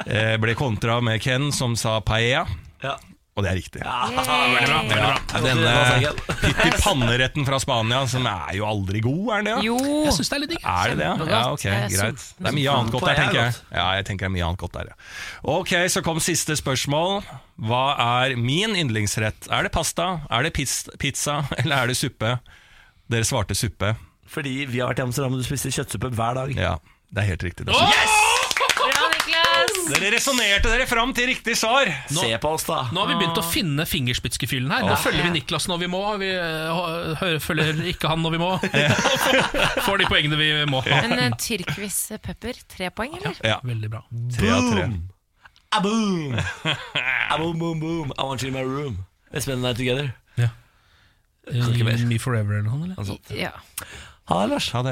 Speaker 14: eh, ble kontra med Ken, som sa paella.
Speaker 1: Ja.
Speaker 14: Og det er riktig.
Speaker 2: Veldig bra. veldig bra
Speaker 14: Ja, Denne pyttipanneretten fra Spania, som er jo aldri god, er den det? ja?
Speaker 3: Jo!
Speaker 2: Jeg syns det er litt digg.
Speaker 14: Er det det? ja? Ja, ok,
Speaker 2: Jeg er
Speaker 14: greit.
Speaker 2: sulten.
Speaker 14: Det er mye annet godt der,
Speaker 2: Paella er
Speaker 14: tenker jeg.
Speaker 2: godt.
Speaker 14: Ja, jeg tenker det er mye annet godt der, ja. Ok, så kom siste spørsmål. Hva er min yndlingsrett? Er det pasta, er det pis- pizza, eller er det suppe? Dere svarte suppe.
Speaker 1: Fordi vi har vært i Amsterdam og du spiste kjøttsuppe hver dag.
Speaker 14: Ja, det er helt riktig. Det
Speaker 3: Bra, Niklas!
Speaker 14: Dere resonnerte dere fram til riktig svar.
Speaker 2: Nå-
Speaker 1: Se på oss, da.
Speaker 2: Nå har vi begynt å finne fingerspitzgefühlen her. Nå
Speaker 14: Ja.
Speaker 2: følger vi Niklas når vi må, vi eh, hø- følger ikke han når vi må. Får- Får de poengene vi må.
Speaker 3: En eh, tyrkvis pepper, tre poeng, eller?
Speaker 14: Ja.
Speaker 2: Veldig bra.
Speaker 14: Tre av tre.
Speaker 1: Boom. Ah, boom. Ah, boom, boom, boom. I want you in my room. Let's spend the night together. Kan ikke mer.
Speaker 2: Me Forever eller noe eller?
Speaker 3: Ja.
Speaker 1: Ha det, Lars.
Speaker 14: Ha det.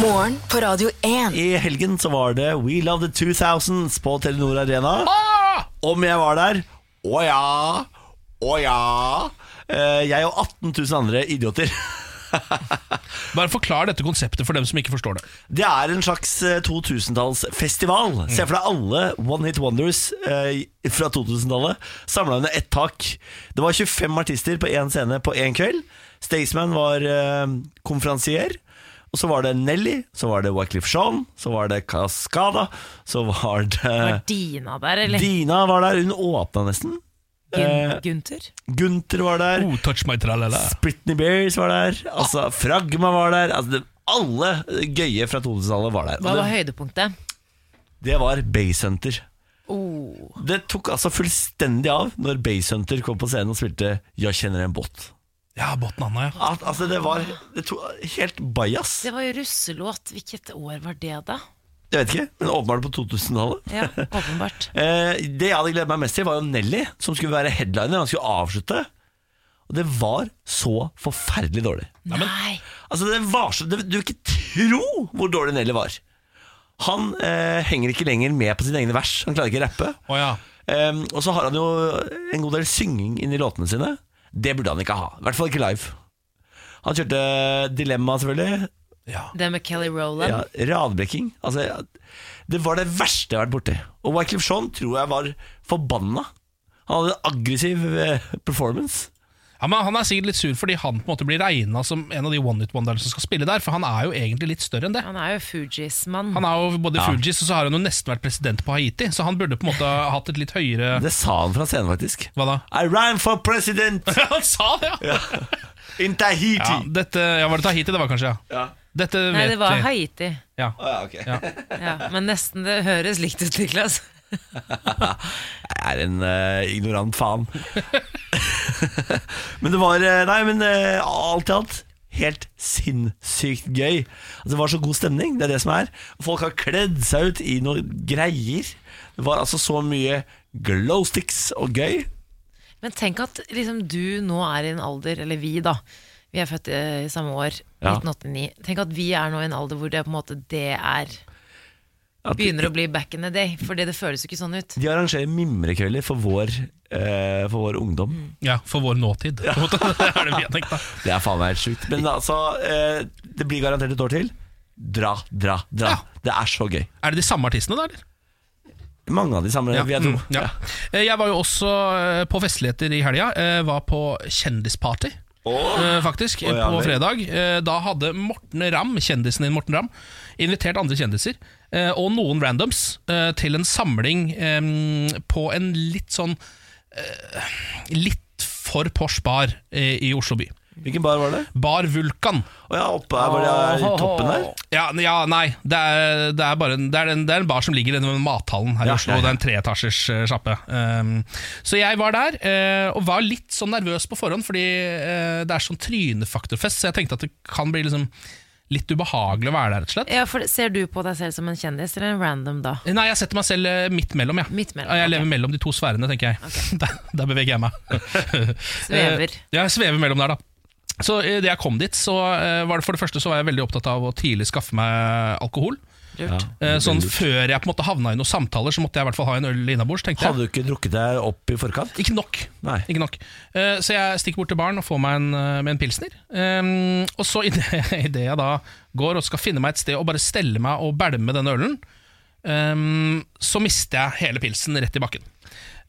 Speaker 4: Morgen på Radio 1.
Speaker 1: I helgen så var det We Love The 2000s på Telenor Arena. Om jeg var der? Å ja. Å ja. Eh, Jeg og 18 000 andre idioter.
Speaker 2: Bare forklar dette konseptet for dem som ikke forstår det.
Speaker 1: Det er en slags eh, 2000-tallsfestival. Se for deg alle One Hit Wonders eh, fra 2000-tallet samla under ett tak. Det var 25 artister på én scene på én kveld. Staysman var eh, konferansier. Og så var det Nelly, så var det Wyclef Jean, så var det Cascada, så var
Speaker 3: Var
Speaker 1: det
Speaker 3: Dina der, eller?
Speaker 1: Dina var der. Hun åpna nesten.
Speaker 3: Gun
Speaker 1: Eh,
Speaker 3: Gunther?
Speaker 1: Gunther var der.
Speaker 2: Oh, touch my tralala.
Speaker 1: Britney Bears var der. Altså, Fragma var der. Altså, det, alle gøye fra 2000-tallet var der. Og
Speaker 3: Hva
Speaker 1: det-
Speaker 3: var høydepunktet?
Speaker 1: det var Basehunter.
Speaker 3: Oh.
Speaker 1: Det tok altså fullstendig av når Basehunter kom på scenen og spilte 'Jeg kjenner en båt'.
Speaker 2: Ja, Botten Anna, ja.
Speaker 1: Al altså Det var det to helt bajas.
Speaker 3: Det var jo russelåt. Hvilket år var det, da?
Speaker 1: Jeg vet ikke, men åpenbart på 2000-tallet.
Speaker 3: Ja, åpenbart.
Speaker 1: Eh, det jeg hadde gledet meg mest til, var jo Nelly, som skulle være headliner. Han skulle avslutte. Og det var så forferdelig dårlig.
Speaker 3: Nei!
Speaker 1: Altså det var så, det, Du vil ikke tro hvor dårlig Nelly var. Han eh, henger ikke lenger med på sine egne vers. Han klarer ikke å rappe.
Speaker 2: Å ja.
Speaker 1: Ehm, og så har han jo en god del synging inni låtene sine. Det burde han ikke ha. I hvert fall ikke live. Han kjørte Dilemma, selvfølgelig.
Speaker 3: Det med Kelly Rowland.
Speaker 1: Ja, radbrekking. Altså, ja, det var det verste jeg har vært borti. Og Wyclef Jean tror jeg var forbanna. Han hadde en aggressiv eh, performance.
Speaker 2: Ja, men Han er sikkert litt sur fordi han på en måte blir regna som en av de one hit wonderne som skal spille der, for han er jo egentlig litt større enn det.
Speaker 3: Han er jo Fugees-mann.
Speaker 2: Han er jo både
Speaker 1: Ja.
Speaker 2: Fugees, og så har han jo nesten vært president på Haiti, så han burde på en måte ha hatt et litt høyere
Speaker 1: Det sa han fra scenen, faktisk.
Speaker 2: Hva da?
Speaker 1: I ran for president
Speaker 2: Han sa det, ja!
Speaker 1: in Tahiti!
Speaker 2: ja dette, ja, var det Tahiti det var, kanskje? ja?
Speaker 1: Ja.
Speaker 2: Dette vet
Speaker 3: Nei, det var
Speaker 2: vi.
Speaker 3: Haiti.
Speaker 2: Ja.
Speaker 1: Å, ja, ok.
Speaker 3: Ja, men nesten det høres likt ut, Niklas.
Speaker 1: Jeg er en eh, ignorant faen. men det var eh, Nei, men eh, alt i alt helt sinnssykt gøy. Altså, det var så god stemning, det er det som er. Folk har kledd seg ut i noe greier. Det var altså så mye glow sticks og gøy.
Speaker 3: Men tenk at liksom, du nå er i en alder, eller vi da, vi er født eh, i samme år,
Speaker 1: Ja.
Speaker 3: 1989. Tenk at vi er nå i en alder hvor det på en måte det er
Speaker 1: At de,
Speaker 3: Begynner å bli back in the day, fordi det føles jo ikke sånn ut.
Speaker 1: de arrangerer mimrekvelder for vår, eh, for vår ungdom.
Speaker 2: ja, for vår nåtid. på en måte. Det er det vi har tenkt, da.
Speaker 1: Det er faen meg helt sjukt. Men altså, eh, det blir garantert et år til. Dra, dra, dra. Det er så gøy.
Speaker 2: Er det de samme artistene, da? eller?
Speaker 1: Mange av de samme, vil jeg tro.
Speaker 2: Mm, ja. Eh, Jeg var jo også eh, på festligheter i helga. eh, Var på kjendisparty. eh, faktisk,
Speaker 1: Å, ja
Speaker 2: på
Speaker 1: vel.
Speaker 2: fredag. Eh, Da hadde Morten Ramm, kjendisen din Morten Ramm, invitert andre kjendiser eh, og noen randoms eh, til en samling eh, på en litt sånn eh, litt for Porsche bar eh, i Oslo by.
Speaker 1: Hvilken bar var det?
Speaker 2: Bar Vulkan.
Speaker 1: Å ja, oppe her hvor det er i toppen der?
Speaker 2: Ja, n- ja nei. Det er, det, er bare en, det, er en, det er en bar som ligger i den mathallen her
Speaker 1: Ja,
Speaker 2: i Oslo.
Speaker 1: ja, ja.
Speaker 2: Det er en treetasjers eh, sjappe. Um, så jeg var der, eh, og var litt sånn nervøs på forhånd, fordi eh, det er sånn trynefaktorfest, så jeg tenkte at det kan bli liksom litt ubehagelig å være der, rett og slett.
Speaker 3: Ja, for Ser du på deg selv som en kjendis eller en random da?
Speaker 2: Nei, jeg setter meg selv eh, midt mellom, ja.
Speaker 3: mellom,
Speaker 2: jeg
Speaker 3: ok.
Speaker 2: lever mellom de to sfærene, tenker jeg. Der, der beveger jeg meg.
Speaker 3: Svever.
Speaker 2: Eh, Jeg svever mellom der, da. Så eh, da jeg kom dit, så eh, var det for det første så var jeg veldig opptatt av å tidlig skaffe meg alkohol.
Speaker 1: Lurt.
Speaker 2: Eh, Sånn Før jeg på en måte havna i noen samtaler, så måtte jeg i hvert fall ha en øl innabords. tenkte jeg.
Speaker 1: Hadde du ikke drukket deg opp i forkant?
Speaker 2: Ikke nok. Ikke nok. Eh, Så jeg stikker bort til baren og får meg en, eh, med en pilsner. Um, og så idet jeg da går og skal finne meg et sted og bare stelle meg og bælme denne ølen, um, så mister jeg hele pilsen rett i bakken.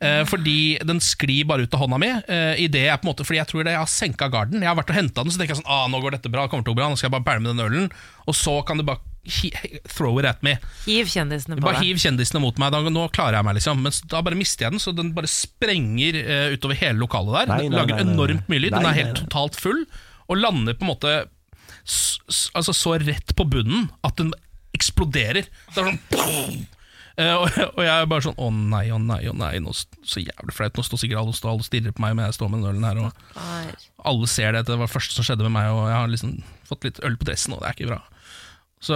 Speaker 2: Eh, fordi den sklir bare ut av hånda mi. eh, i det jeg på en måte, fordi jeg tror det jeg har senka garden. Jeg har vært og henta den, så tenker jeg sånn ah, nå går dette bra, det kommer til å gå bra, nå skal jeg bare bælme den ølen. Og så kan du bare he- he- throw it at me.
Speaker 3: Hiv kjendisene på
Speaker 2: Bare
Speaker 3: deg.
Speaker 2: hiv kjendisene mot meg, da, nå klarer jeg meg liksom Men s- da bare mister jeg den, så den bare sprenger eh, utover hele lokalet der
Speaker 1: Nei, nei,
Speaker 2: Den lager
Speaker 1: nei, nei, nei.
Speaker 2: enormt mye lyd,
Speaker 1: Nei,
Speaker 2: den er
Speaker 1: nei,
Speaker 2: helt
Speaker 1: nei.
Speaker 2: totalt full Og lander på en måte s- s- Altså så rett på bunnen At den eksploderer Det er sånn boom! Eh, og, og jeg er bare sånn, å nei, å nei, å nei nå, s- Så jævlig flaut, nå står sikkert alle og står- alle og stirrer på meg Men jeg står med den ølen her og, Alle ser det, det var det første som skjedde med meg Og jeg har liksom fått litt øl på dressen Og det er ikke bra så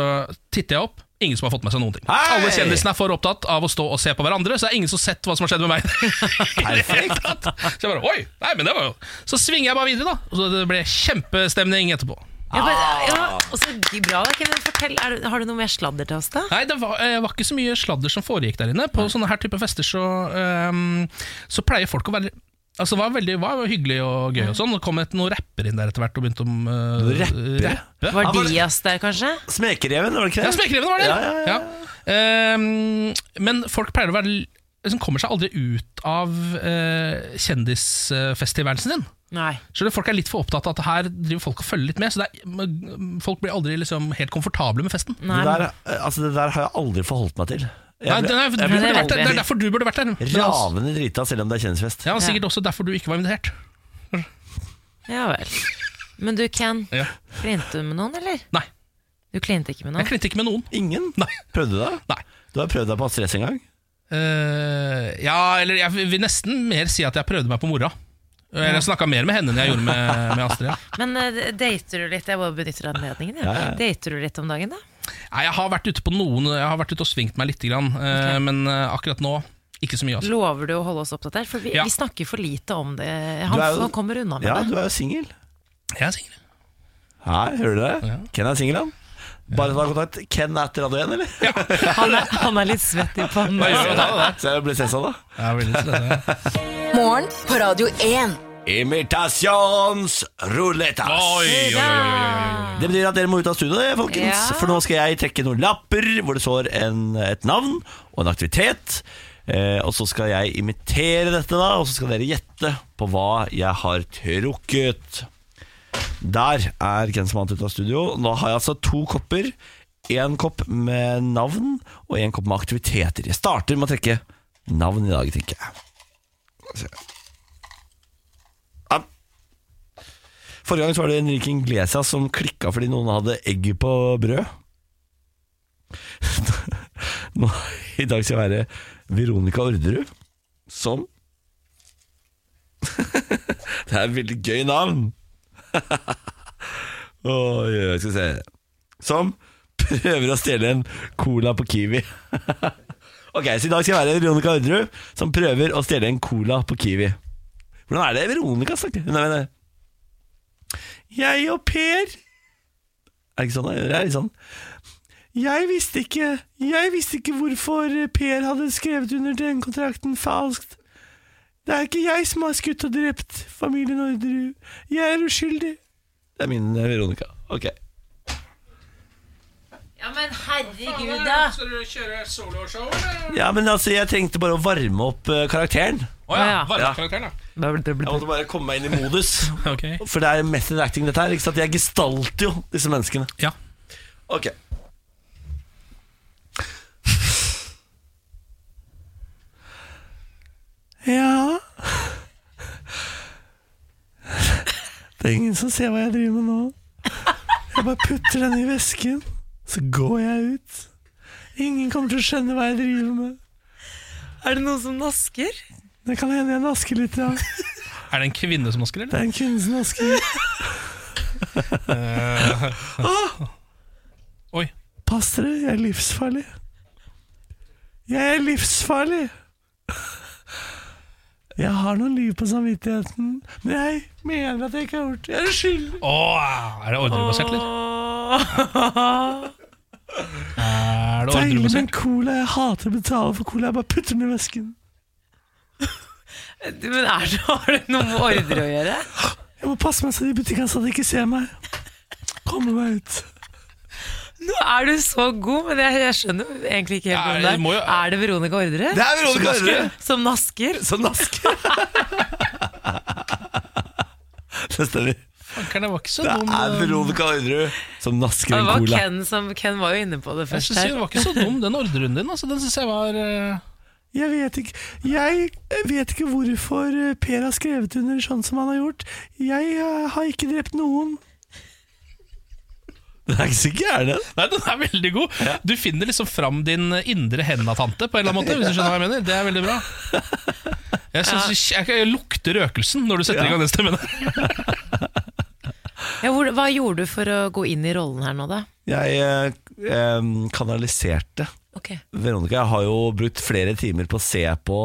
Speaker 2: titter jeg opp. Ingen som har fått med seg noen ting.
Speaker 1: Hei!
Speaker 2: Alle kjendisene er for opptatt av å stå og se på hverandre, så det er ingen som har sett hva som har skjedd med meg. Perfekt Så jeg bare, oi, nei, men det var jo Så svinger jeg bare videre, da. Og så det ble kjempestemning etterpå.
Speaker 3: Ja, men,
Speaker 2: Ah.
Speaker 3: ja, og så bra, da, Kevin. Fortell, er, du- har du noe mer sladder til oss, da?
Speaker 2: Nei, det var, eh, var ikke så mye sladder som foregikk der inne. På sånne her type fester så, ehm, så pleier folk å være Altså Det var veldig var hyggelig og gøy. og sånn Det kom et, noen rappere inn der etter hvert og begynte om eh,
Speaker 1: Rappere?
Speaker 2: rappe.
Speaker 3: Var Dias der, kanskje?
Speaker 1: Smekereven, var det ikke det?
Speaker 2: Ja, Smekreven var det.
Speaker 1: Ja, ja, ja.
Speaker 2: Ehm, men folk pleier å være l- liksom kommer seg aldri ut av uh, kjendisfesttilværelsen sin.
Speaker 3: Nei.
Speaker 2: Så det, folk er litt for opptatt av at her driver folk og følger litt med. Så det er, m- folk blir aldri liksom helt komfortable med festen.
Speaker 1: Det der, altså, det der har jeg aldri forholdt meg til. Jeg ble-
Speaker 2: Nei, det, er,
Speaker 1: jeg
Speaker 2: du
Speaker 1: ble
Speaker 2: burde vært der. det er
Speaker 1: aldri
Speaker 2: derfor du burde vært der. Men altså-
Speaker 1: Ravende drita, selv om det er kjendisfest.
Speaker 2: Ja, og Sikkert også derfor du ikke var invitert.
Speaker 3: Ja vel. Men du, Ken.
Speaker 2: Ja.
Speaker 3: Klinte du med noen, eller?
Speaker 2: Nei.
Speaker 3: Du klinte ikke med noen?
Speaker 2: Jeg klinte ikke med noen.
Speaker 1: Ingen? Prøvde du det?
Speaker 2: Nei.
Speaker 1: Du har prøvd deg på Astrid S en gang?
Speaker 2: Eh, ja, eller jeg vil nesten mer si at jeg prøvde meg på mora. Eller jeg snakka mer med henne enn jeg gjorde med, med Astrid. ja.
Speaker 3: Men eh, dater du litt? Jeg bare benytter anledningen. Ja.
Speaker 2: Ja, ja, ja.
Speaker 3: Dater du litt om dagen, da?
Speaker 2: Nei, jeg har vært ute på noen Jeg har vært ute og svingt meg litt, grann, eh, men eh, akkurat nå ikke så mye. Altså.
Speaker 3: Lover du å holde oss oppdatert? For vi,
Speaker 2: Ja.
Speaker 3: vi snakker for lite om det.
Speaker 2: Du
Speaker 3: Han,
Speaker 2: er jo-
Speaker 3: han kommer unna med
Speaker 1: Ja, du
Speaker 3: det.
Speaker 1: er jo singel.
Speaker 2: Jeg er singel.
Speaker 1: Hei, hører du det? Ken er singel, han. Bare ta kontakt. Ken er etter Radio 1, eller?
Speaker 3: Han er, han er litt svett i panna.
Speaker 1: Så jeg blir stressa, da.
Speaker 2: Jeg blir litt stressa,
Speaker 4: Morgen på Radio 1.
Speaker 1: Imitasjonsruletas.
Speaker 4: Oi, oi, oi, oi, oi,
Speaker 1: Det betyr at dere må ut av studio, det, folkens.
Speaker 4: Ja.
Speaker 1: For nå skal jeg trekke noen lapper hvor det står en, et navn og en aktivitet. Eh, og så skal jeg imitere dette, da, og så skal dere gjette på hva jeg har trukket. Der er Ken som vant ut av studio. Nå har jeg altså to kopper. Én kopp med navn og én kopp med aktiviteter. Jeg starter med å trekke navn i dag, tenker jeg. Forrige gang så var det Enrique Iglesias som klikka fordi noen hadde egg på brød. Nå, I dag skal det være Veronica Orderud som Det er et veldig gøy navn! Oi, oi, skal vi se Som prøver å stjele en cola på Kiwi. ok, Så i dag skal det være Veronica Orderud som prøver å stjele en cola på Kiwi. Hvordan er det Veronica snakker? Nei, nei, nei. Jeg og Per Er det ikke sånn? Det er litt sånn Jeg visste ikke Jeg visste ikke hvorfor Per hadde skrevet under den kontrakten falskt Det er ikke jeg som har skutt og drept familien Orderud Jeg er uskyldig Det er min eh, Veronica Ok
Speaker 3: Ja, men herregud, da!
Speaker 2: Skal du kjøre soloshow, eller?
Speaker 1: Ja, men altså Jeg trengte bare å varme opp eh, karakteren
Speaker 2: Å ja. Varmekarakteren, ja.
Speaker 1: Jeg måtte bare komme meg inn i modus
Speaker 2: Ok.
Speaker 1: For det er method acting dette her ikke sant? Jeg gestalter jo disse menneskene
Speaker 2: Ja
Speaker 1: Ok Ja Det er ingen som ser hva jeg driver med nå. Jeg bare putter den i vesken, så går jeg ut. Ingen kommer til å skjønne hva jeg driver med.
Speaker 3: Er det noen som nasker?
Speaker 1: Det kan hende jeg nasker litt, ja.
Speaker 2: Er det en kvinne som nasker,
Speaker 1: Det
Speaker 2: eller?
Speaker 1: er en kvinne som nasker.
Speaker 2: Eh, Oi.
Speaker 1: Ah! Pass dere, jeg er livsfarlig. Jeg er livsfarlig! Jeg har noen liv på samvittigheten, men jeg mener at jeg ikke har gjort det. Jeg er skyldig.
Speaker 2: Åh, er det ordrebasert,
Speaker 3: eller?
Speaker 2: Er det
Speaker 1: Deilig med en
Speaker 2: ordrebasert?
Speaker 1: cola. Jeg hater å betale for cola. Jeg bare putter den i vesken.
Speaker 3: Du, Men er det, har det noe med ordre å gjøre?
Speaker 1: Jeg må passe meg så de i butikken så de ikke ser meg. Komme meg ut.
Speaker 3: Nå er du så god, men jeg, jeg skjønner egentlig ikke helt
Speaker 1: Er-
Speaker 3: hvem det er.
Speaker 1: må jo-
Speaker 3: er det Veronica Ordre?
Speaker 1: Det er Veronica
Speaker 3: Som nasker?
Speaker 1: Ordre.
Speaker 3: Som nasker?
Speaker 1: Som nasker. Det stemmer.
Speaker 2: Fankeren, det var ikke så
Speaker 1: Det
Speaker 2: dum. eh,
Speaker 1: er Veronica Orderud som nasker
Speaker 3: Det
Speaker 1: en
Speaker 3: var
Speaker 1: cola.
Speaker 3: Ken, som, Ken var jo inne på det
Speaker 2: Jeg
Speaker 3: først
Speaker 2: synes
Speaker 3: her.
Speaker 2: det var ikke så dum, den ordrerunden din. Altså, den synes jeg var eh,
Speaker 1: Jeg vet, ikke, jeg vet ikke hvorfor eh, Per har skrevet under sånn som han har gjort. Jeg eh, har ikke drept noen. Den er ikke så gæren, den.
Speaker 2: Nei, den er veldig god. Du finner liksom fram din indre henda-tante, på en eller annen måte. Hvis du skjønner hva jeg mener. Det er veldig bra. Jeg, synes, jeg, jeg lukter røkelsen når du setter i gang den stemmen der.
Speaker 3: Ja, hvor, hva gjorde du for å gå inn i rollen her nå, da?
Speaker 1: Jeg eh, em, kanaliserte
Speaker 3: Ok.
Speaker 1: Veronica. Jeg har jo brukt flere timer på å se på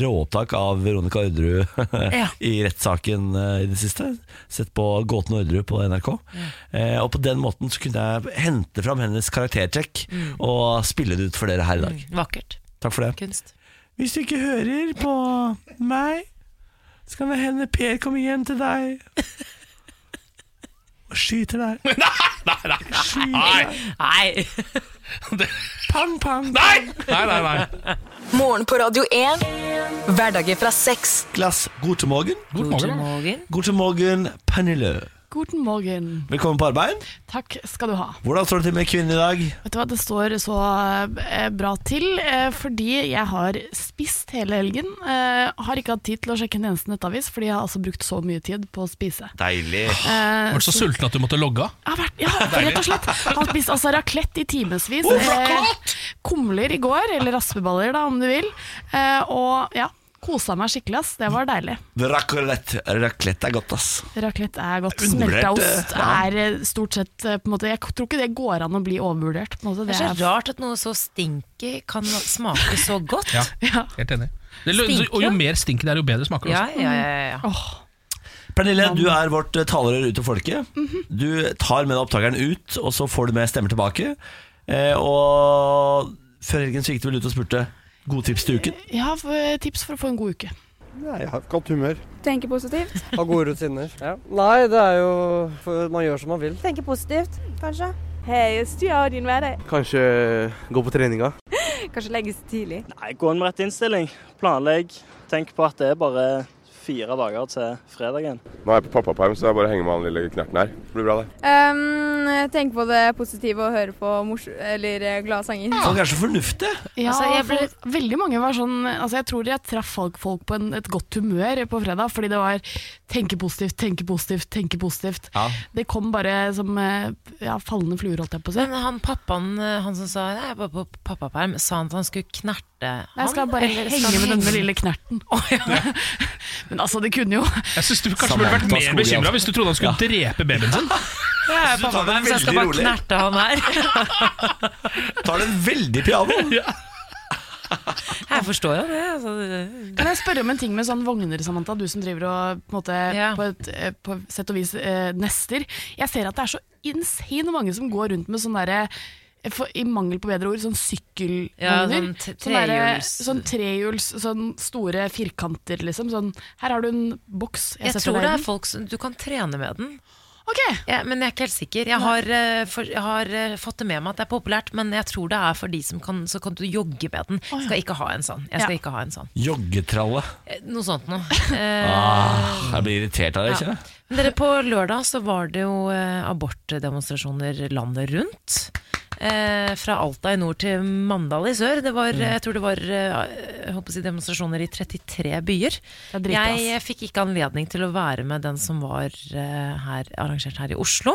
Speaker 1: råopptak av Veronica Orderud
Speaker 3: Ja.
Speaker 1: i rettssaken eh, i det siste. Sett på Gåten Orderud på NRK. Eh, og på den måten så kunne jeg hente fram hennes karaktertrekk
Speaker 3: Mm.
Speaker 1: og spille det ut for dere her i
Speaker 2: Mm.
Speaker 1: dag.
Speaker 3: Vakkert.
Speaker 1: Takk for det.
Speaker 3: Kunst.
Speaker 1: Hvis du ikke hører på meg, så kan det hende Per kommer hjem til deg og skyter deg.
Speaker 2: Nei, nei, nei.
Speaker 3: Nei.
Speaker 1: Pang, pang.
Speaker 2: Nei, nei, nei.
Speaker 4: Morgen på Radio 1. Hverdager fra seks.
Speaker 1: Glass, god til morgen.
Speaker 2: God
Speaker 15: til morgen.
Speaker 1: God til morgen, Pernille.
Speaker 15: Guten morgen.
Speaker 1: Velkommen på arbeid.
Speaker 15: Takk skal du ha.
Speaker 1: Hvordan står det til med kvinnen i dag?
Speaker 15: Vet du hva, det står så eh, bra til, eh, fordi jeg har spist hele helgen. eh, Har ikke hatt tid til å sjekke en eneste nettavis, fordi jeg har altså brukt så mye tid på å spise.
Speaker 1: Deilig.
Speaker 15: Eh,
Speaker 2: Var du så
Speaker 15: så-
Speaker 2: sulten at du måtte logge av?
Speaker 15: Jeg har vært, ja, for rett og slett Har spist altså raclette i timevis. Eh,
Speaker 2: Oh,
Speaker 15: kumler i går, eller raspeballer da, om du vil. Eh, Og ja, kosa meg skikkelig, ass. Det var deilig.
Speaker 1: Raclette. Raclette er godt, ass.
Speaker 15: Raclette er godt.
Speaker 1: Undervurdert,
Speaker 15: Smelta
Speaker 1: eh,
Speaker 15: ost
Speaker 1: ja.
Speaker 15: er eh, stort sett eh, på en måte, Jeg tror ikke det går an å bli overvurdert. På en måte.
Speaker 3: Det er så rart at noe så stinky kan smake så godt.
Speaker 2: Ja, helt enig. Det, lo-
Speaker 3: Stinker,
Speaker 2: og jo mer stinker det er, jo bedre smaker det.
Speaker 3: Ja,
Speaker 2: også.
Speaker 3: ja, ja, ja.
Speaker 1: Pernille, du er vårt eh, talerør ut til folket. Du tar med deg opptakeren ut, og så får du med stemmer tilbake. Eh, og før helgen så gikk du vel ut og spurte gode tips til uken.
Speaker 15: Jeg har eh, tips for å få en god uke.
Speaker 16: Jeg har godt humør.
Speaker 17: Tenke positivt.
Speaker 16: Har gode rutiner. Nei, det er jo for Man gjør som man vil.
Speaker 17: Tenke positivt, kanskje. Hei, styr av din hverdag.
Speaker 16: Kanskje gå på treninga.
Speaker 17: Kanskje legges tidlig.
Speaker 18: Nei, gå inn med rett innstilling. Planlegg. Tenk på at det er bare fire dager til fredagen.
Speaker 19: Nå er jeg på pappaperm, så jeg bare henger med han lille knerten her. Det blir bra, det.
Speaker 17: tenk på det positive og høre på mors eller eh, glade sanger.
Speaker 1: Så kanskje fornuftig?
Speaker 15: Ja,
Speaker 17: Altså, jeg ble-
Speaker 15: for veldig mange var sånn altså Jeg tror jeg traff folk, folk på en, et godt humør på fredag, fordi det var tenke positivt, tenke positivt, tenke positivt.
Speaker 1: Ja.
Speaker 15: Det kom bare som eh, ja, fallende fluer, holdt jeg på å si.
Speaker 3: Men han pappaen eh, han som sa Nei, jeg er bare på pappaperm, sa han at han skulle knerte han?
Speaker 15: Jeg skal bare
Speaker 3: eller skal
Speaker 15: henge med
Speaker 3: han
Speaker 15: denne
Speaker 3: henge?
Speaker 15: lille knerten. Men altså, det kunne jo
Speaker 2: Jeg syns du kanskje
Speaker 15: Samantha
Speaker 2: burde vært mer
Speaker 15: Skogran.
Speaker 2: bekymra hvis du trodde han skulle drepe babyen sin.
Speaker 3: Jeg er
Speaker 2: Så du tar det
Speaker 3: pappaperm, så jeg skal
Speaker 2: veldig
Speaker 3: bare
Speaker 2: rolig.
Speaker 3: knerte han her.
Speaker 1: Tar den veldig piano.
Speaker 3: Jeg forstår jo det. Altså. det-
Speaker 15: Kan jeg spørre om en ting med sånn vogner, Samantha? Du som driver og på, en måte, på, et, eh, på sett og vis eh, nester. Jeg ser at det er så insane mange som går rundt med sånn derre eh, for, I mangel på bedre ord, sånn sykkelvogner.
Speaker 3: Ja, sånn t-
Speaker 15: Sånn derre-
Speaker 3: trehjuls-
Speaker 15: sånn trehjuls, sånn store firkanter, liksom. Sånn, her har du en boks.
Speaker 3: Jeg
Speaker 15: setter
Speaker 3: tror
Speaker 15: deg
Speaker 3: det
Speaker 15: i
Speaker 3: er
Speaker 15: den.
Speaker 3: folk som Du kan trene med den. Ja, men jeg er ikke helt sikker. Jeg har, eh, for, jeg har eh, fått det med meg at det er populært, men jeg tror det er for de som kan Så kan du jogge med den. Jeg skal ikke ha en sånn. Jeg skal ikke ha en sånn.
Speaker 1: Joggetralle.
Speaker 3: Eh, Noe sånt noe. Eh,
Speaker 1: Ah, jeg blir irritert av det, ikke
Speaker 3: Ja.
Speaker 1: sant?
Speaker 3: Men dere, på lørdag så var det jo eh, abortdemonstrasjoner landet rundt. eh, fra Alta i nord til Mandal i sør. Det var,
Speaker 15: Mm.
Speaker 3: Jeg tror det var eh, jeg håper å si demonstrasjoner i 33 byer.
Speaker 15: Det er dritbra,
Speaker 3: Jeg
Speaker 15: ass.
Speaker 3: eh, fikk ikke anledning til å være med den som var eh, her, arrangert her i Oslo.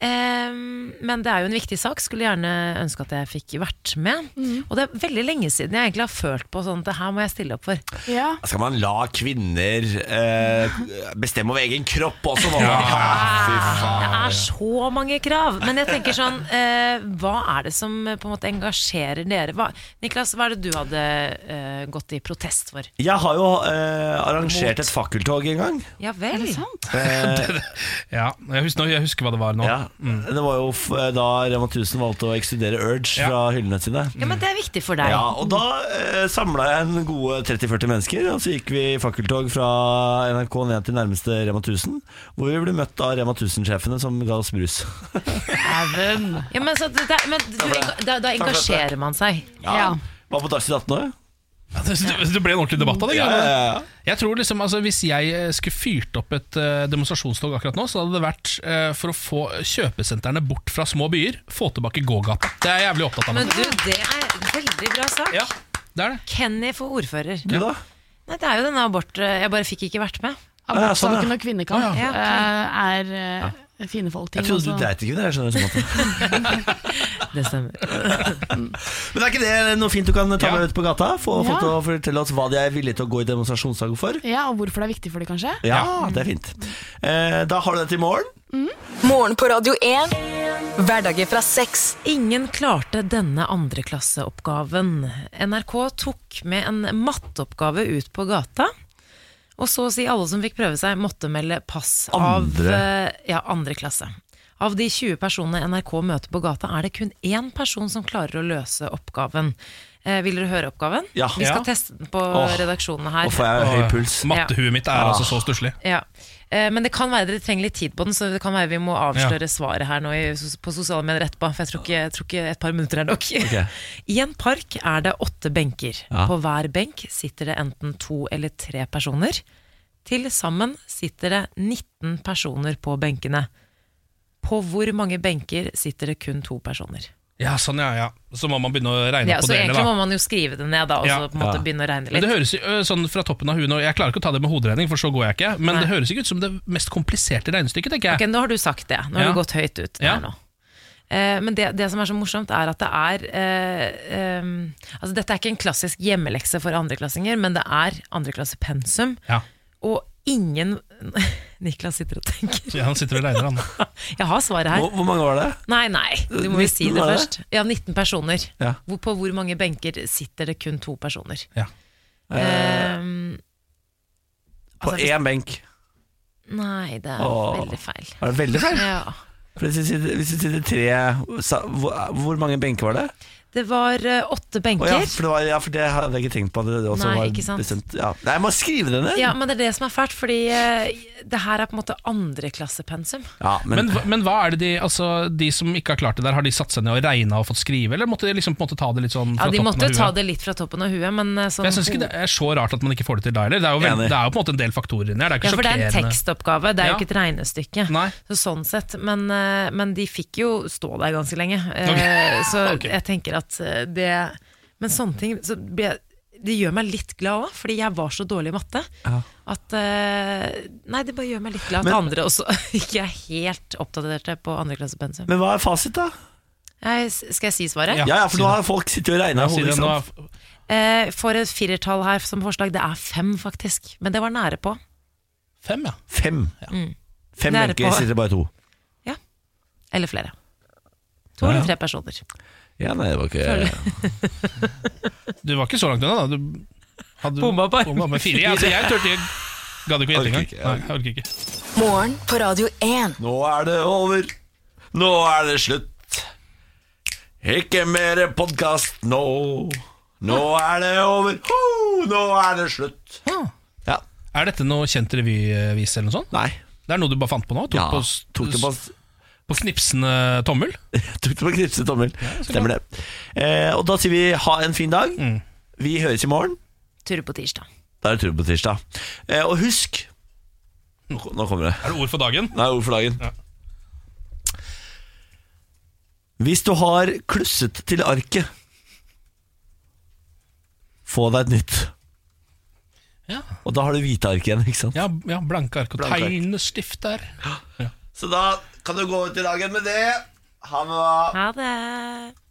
Speaker 3: Eh, men det er jo en viktig sak. Skulle gjerne ønske at jeg fikk vært med.
Speaker 15: Mm.
Speaker 3: Og det er veldig lenge siden jeg egentlig har følt på sånn at det her må jeg stille opp for.
Speaker 15: Ja.
Speaker 1: Skal man la kvinner eh, bestemme over egen kropp også nå?
Speaker 3: Ah, Det er så mange krav. Men jeg tenker sånn, eh, hva er det som eh, på en måte engasjerer dere? Hva, Niklas, hva er det du hadde eh, gått i protest for?
Speaker 1: Jeg har jo eh, arrangert et fakkeltog en gang.
Speaker 3: Ja vel?
Speaker 2: ja, jeg husker, nå- jeg husker hva det var nå.
Speaker 1: Det var jo f eh, da Rema 1000 valgte å ekskludere Urge fra hyllene sine.
Speaker 3: Ja, men det er viktig for deg.
Speaker 1: Ja, og da eh, samla jeg en gode 30-40 mennesker, og så gikk vi i fakkeltog fra NRK ned til nærmeste Rema 1000, hvor vi ble møtt av Rema 1000-sjefene som ga oss brus.
Speaker 3: Even. Ja, men, så, det, det- men du, enga- da, da
Speaker 1: Takk for dette.
Speaker 3: engasjerer man seg.
Speaker 1: Var på Dagsnytt 18 òg.
Speaker 2: Det det ble en ordentlig debatt av det.
Speaker 1: Ja,
Speaker 2: greiene.
Speaker 1: ja, ja.
Speaker 2: Jeg tror liksom, altså, Hvis jeg eh, skulle fyrt opp et eh, demonstrasjonstog akkurat nå, så hadde det vært eh, for å få kjøpesentrene bort fra små byer, få tilbake gågata. Det er jeg jævlig opptatt av. nå.
Speaker 3: Men du, det er veldig bra sak. Kenny for ordfører.
Speaker 2: Du da?
Speaker 3: Nei, det er jo denne abort... eh, Jeg bare fikk ikke vært med.
Speaker 15: Abortsaken og kvinnekamp
Speaker 3: Ja, ok.
Speaker 15: eh, er eh, fine folk ting.
Speaker 1: Jeg trodde
Speaker 15: altså.
Speaker 1: du dreit i kvinner, jeg skjønner det sånn- som at
Speaker 3: Det stemmer.
Speaker 1: Men er ikke det noe fint du kan ta med ut på gata? Få
Speaker 15: Ja.
Speaker 1: folk til å fortelle oss hva de er villige til å gå i demonstrasjonstog for?
Speaker 15: Ja, og hvorfor det er viktig for de kanskje?
Speaker 1: Ja, det er fint. Eh, da har du det til i morgen.
Speaker 4: Morgen på Radio 1. Hverdager fra seks.
Speaker 3: Ingen klarte denne andreklasseoppgaven. NRK tok med en matteoppgave ut på gata. Og så å si alle som fikk prøve seg, måtte melde pass av
Speaker 20: Andre?
Speaker 3: eh, ja, andre klasse. Av de 20 personene NRK møter på gata, er det kun én person som klarer å løse oppgaven. Eh, vil dere høre oppgaven?
Speaker 2: Ja.
Speaker 3: Vi skal
Speaker 2: Ja.
Speaker 3: teste den på
Speaker 2: Åh,
Speaker 3: redaksjonene her.
Speaker 2: nå får jeg høy puls.
Speaker 3: Ja.
Speaker 2: Mattehuet mitt er altså så stusslig.
Speaker 3: Ja. Eh, Men det kan være dere trenger litt tid på den, så det kan være vi må avsløre svaret her nå i, på sosiale medier etterpå. For jeg tror ikke, jeg tror ikke et par minutter er nok.
Speaker 20: Ok.
Speaker 3: I en park er det åtte benker.
Speaker 20: Ja.
Speaker 3: På hver benk sitter det enten to eller tre personer. Til sammen sitter det 19 personer på benkene. På hvor mange benker sitter det kun to personer?
Speaker 2: Ja, sånn, ja, ja. Så må man begynne å regne
Speaker 3: Ja,
Speaker 2: opp
Speaker 3: så
Speaker 2: på det.
Speaker 3: egentlig må man jo skrive det ned, da, og
Speaker 2: Ja.
Speaker 3: så på en måte
Speaker 2: Ja.
Speaker 3: begynne å regne
Speaker 2: Men
Speaker 3: litt.
Speaker 2: det høres jo, ø, sånn fra toppen av huet nå Jeg klarer ikke å ta det med hoderegning, for så går jeg ikke. Men det høres ikke ut som det mest kompliserte regnestykket, tenker jeg.
Speaker 3: Ok, nå har du sagt det. Nå har
Speaker 2: Ja.
Speaker 3: du gått høyt ut
Speaker 2: Ja.
Speaker 3: her nå. Eh, men det, det som er så morsomt, er at det er eh, em, Altså, dette er ikke en klassisk hjemmelekse for andreklassinger, men det er andreklassepensum.
Speaker 2: Ja.
Speaker 3: Og ingen Niklas sitter og tenker.
Speaker 2: Ja, han sitter og regner, han.
Speaker 3: Jeg har svaret her.
Speaker 1: Hvor, hvor mange var det?
Speaker 3: Nei, nei, du må jo si
Speaker 1: 19
Speaker 3: det
Speaker 1: var det?
Speaker 3: først. Ja, 19 personer.
Speaker 1: Ja.
Speaker 3: Hvor, på hvor mange benker sitter det kun to personer?
Speaker 2: Ja.
Speaker 3: Em,
Speaker 1: På
Speaker 3: altså, hvis-
Speaker 1: én benk.
Speaker 3: Nei, det er
Speaker 1: Åh.
Speaker 3: veldig feil.
Speaker 1: Er det veldig feil?
Speaker 3: Ja.
Speaker 1: For Hvis det sitter, hvis det sitter tre sa, hvor, hvor mange benker var det?
Speaker 3: Det var eh, åtte
Speaker 1: Å
Speaker 3: benker.
Speaker 1: ja, for det var, ja, for det hadde jeg ikke tenkt på. at Det også
Speaker 3: Nei,
Speaker 1: var
Speaker 3: ikke sant.
Speaker 1: Bestemt, ja. Nei, jeg må skrive det ned.
Speaker 3: Ja, men det er det som er fælt, fordi eh, det her er på en måte andreklassepensum.
Speaker 1: Ja, men-
Speaker 2: men, hva- men hva er det de altså, De som ikke har klart det der, har de satt seg ned og regna og fått skrive, eller måtte de liksom på en måte ta det litt sånn
Speaker 3: Ja,
Speaker 2: fra
Speaker 3: de
Speaker 2: toppen
Speaker 3: måtte
Speaker 2: av
Speaker 3: jo
Speaker 2: huet?
Speaker 3: ta det litt fra toppen av huet, men eh,
Speaker 2: For
Speaker 3: sånn
Speaker 2: jeg syns ikke det
Speaker 3: ho-
Speaker 2: er så rart at man ikke får det til da heller. Det er jo, vel-
Speaker 1: Enig.
Speaker 2: det er jo på en måte en del faktorer inni her. Det
Speaker 3: ja,
Speaker 2: er ikke
Speaker 3: for det er en
Speaker 2: sjokkerende.
Speaker 3: tekstoppgave, det er
Speaker 2: Ja.
Speaker 3: jo ikke et regnestykke. Så sånn sett, men, eh, men de fikk jo stå der ganske lenge. Eh,
Speaker 20: Ok.
Speaker 3: Så jeg tenker at eh, det Men sånne ting så ble, Det gjør meg litt glad òg, fordi jeg var så dårlig i matte.
Speaker 1: Ja.
Speaker 3: At eh, Nei, det bare gjør meg litt glad at
Speaker 1: Men-
Speaker 3: andre også ikke er helt oppdaterte på andreklassepensum.
Speaker 1: Men hva er fasit, da?
Speaker 3: Jeg- Skal jeg si svaret?
Speaker 1: Ja, ja, for nå har folk sittet og regna
Speaker 2: Ja,
Speaker 1: i
Speaker 2: si
Speaker 1: hodet.
Speaker 2: det,
Speaker 1: ikke
Speaker 2: nå
Speaker 1: sant?
Speaker 3: Eh, får et firertall her som forslag. Det er fem, faktisk. Men det var nære på.
Speaker 2: Fem, ja.
Speaker 1: Fem.
Speaker 3: Mm.
Speaker 1: Fem
Speaker 3: Nære
Speaker 1: benker
Speaker 3: på.
Speaker 1: sitter bare to.
Speaker 3: Eller flere. To
Speaker 1: Ja, ja.
Speaker 3: eller tre personer.
Speaker 1: Ja, nei, det var ikke
Speaker 2: Du var ikke så langt unna, da. Du hadde
Speaker 3: Bomma på-
Speaker 2: med fire. Ja, altså, jeg turte ikke Gadd ikke å gjette
Speaker 1: Orker
Speaker 2: engang.
Speaker 1: ikke,
Speaker 2: Nei, jeg orker ikke.
Speaker 4: Morgen på Radio 1.
Speaker 1: Nå er det over. Nå er det slutt. Ikke mer podkast nå. Nå er det over. Ho, nå er det slutt. Ja.
Speaker 2: Er dette noe kjent revyvise eller noe sånt?
Speaker 1: Nei.
Speaker 2: Det er noe du bare fant på nå? Tok
Speaker 1: Ja,
Speaker 2: på, s-
Speaker 1: tok det på
Speaker 2: s- på knipsende tommel?
Speaker 1: Tok det på knipset tommel. Stemmer det. Eh, og da sier vi ha en fin dag.
Speaker 2: Mm.
Speaker 1: Vi høres i morgen.
Speaker 3: Tur på tirsdag.
Speaker 1: Da er det tur på tirsdag. Eh, og husk Nå nå kommer det.
Speaker 2: Er det ord for dagen?
Speaker 1: Nei, ord for dagen. Hvis du har klusset til arket, få deg et nytt.
Speaker 2: Ja.
Speaker 1: Og da har du hvite ark igjen, ikke sant?
Speaker 2: Ja, ja blanke ark og
Speaker 1: Blanke ark.
Speaker 2: tegnestift der.
Speaker 1: Så da kan du gå ut i dagen med det. Ha det.
Speaker 3: Ha det.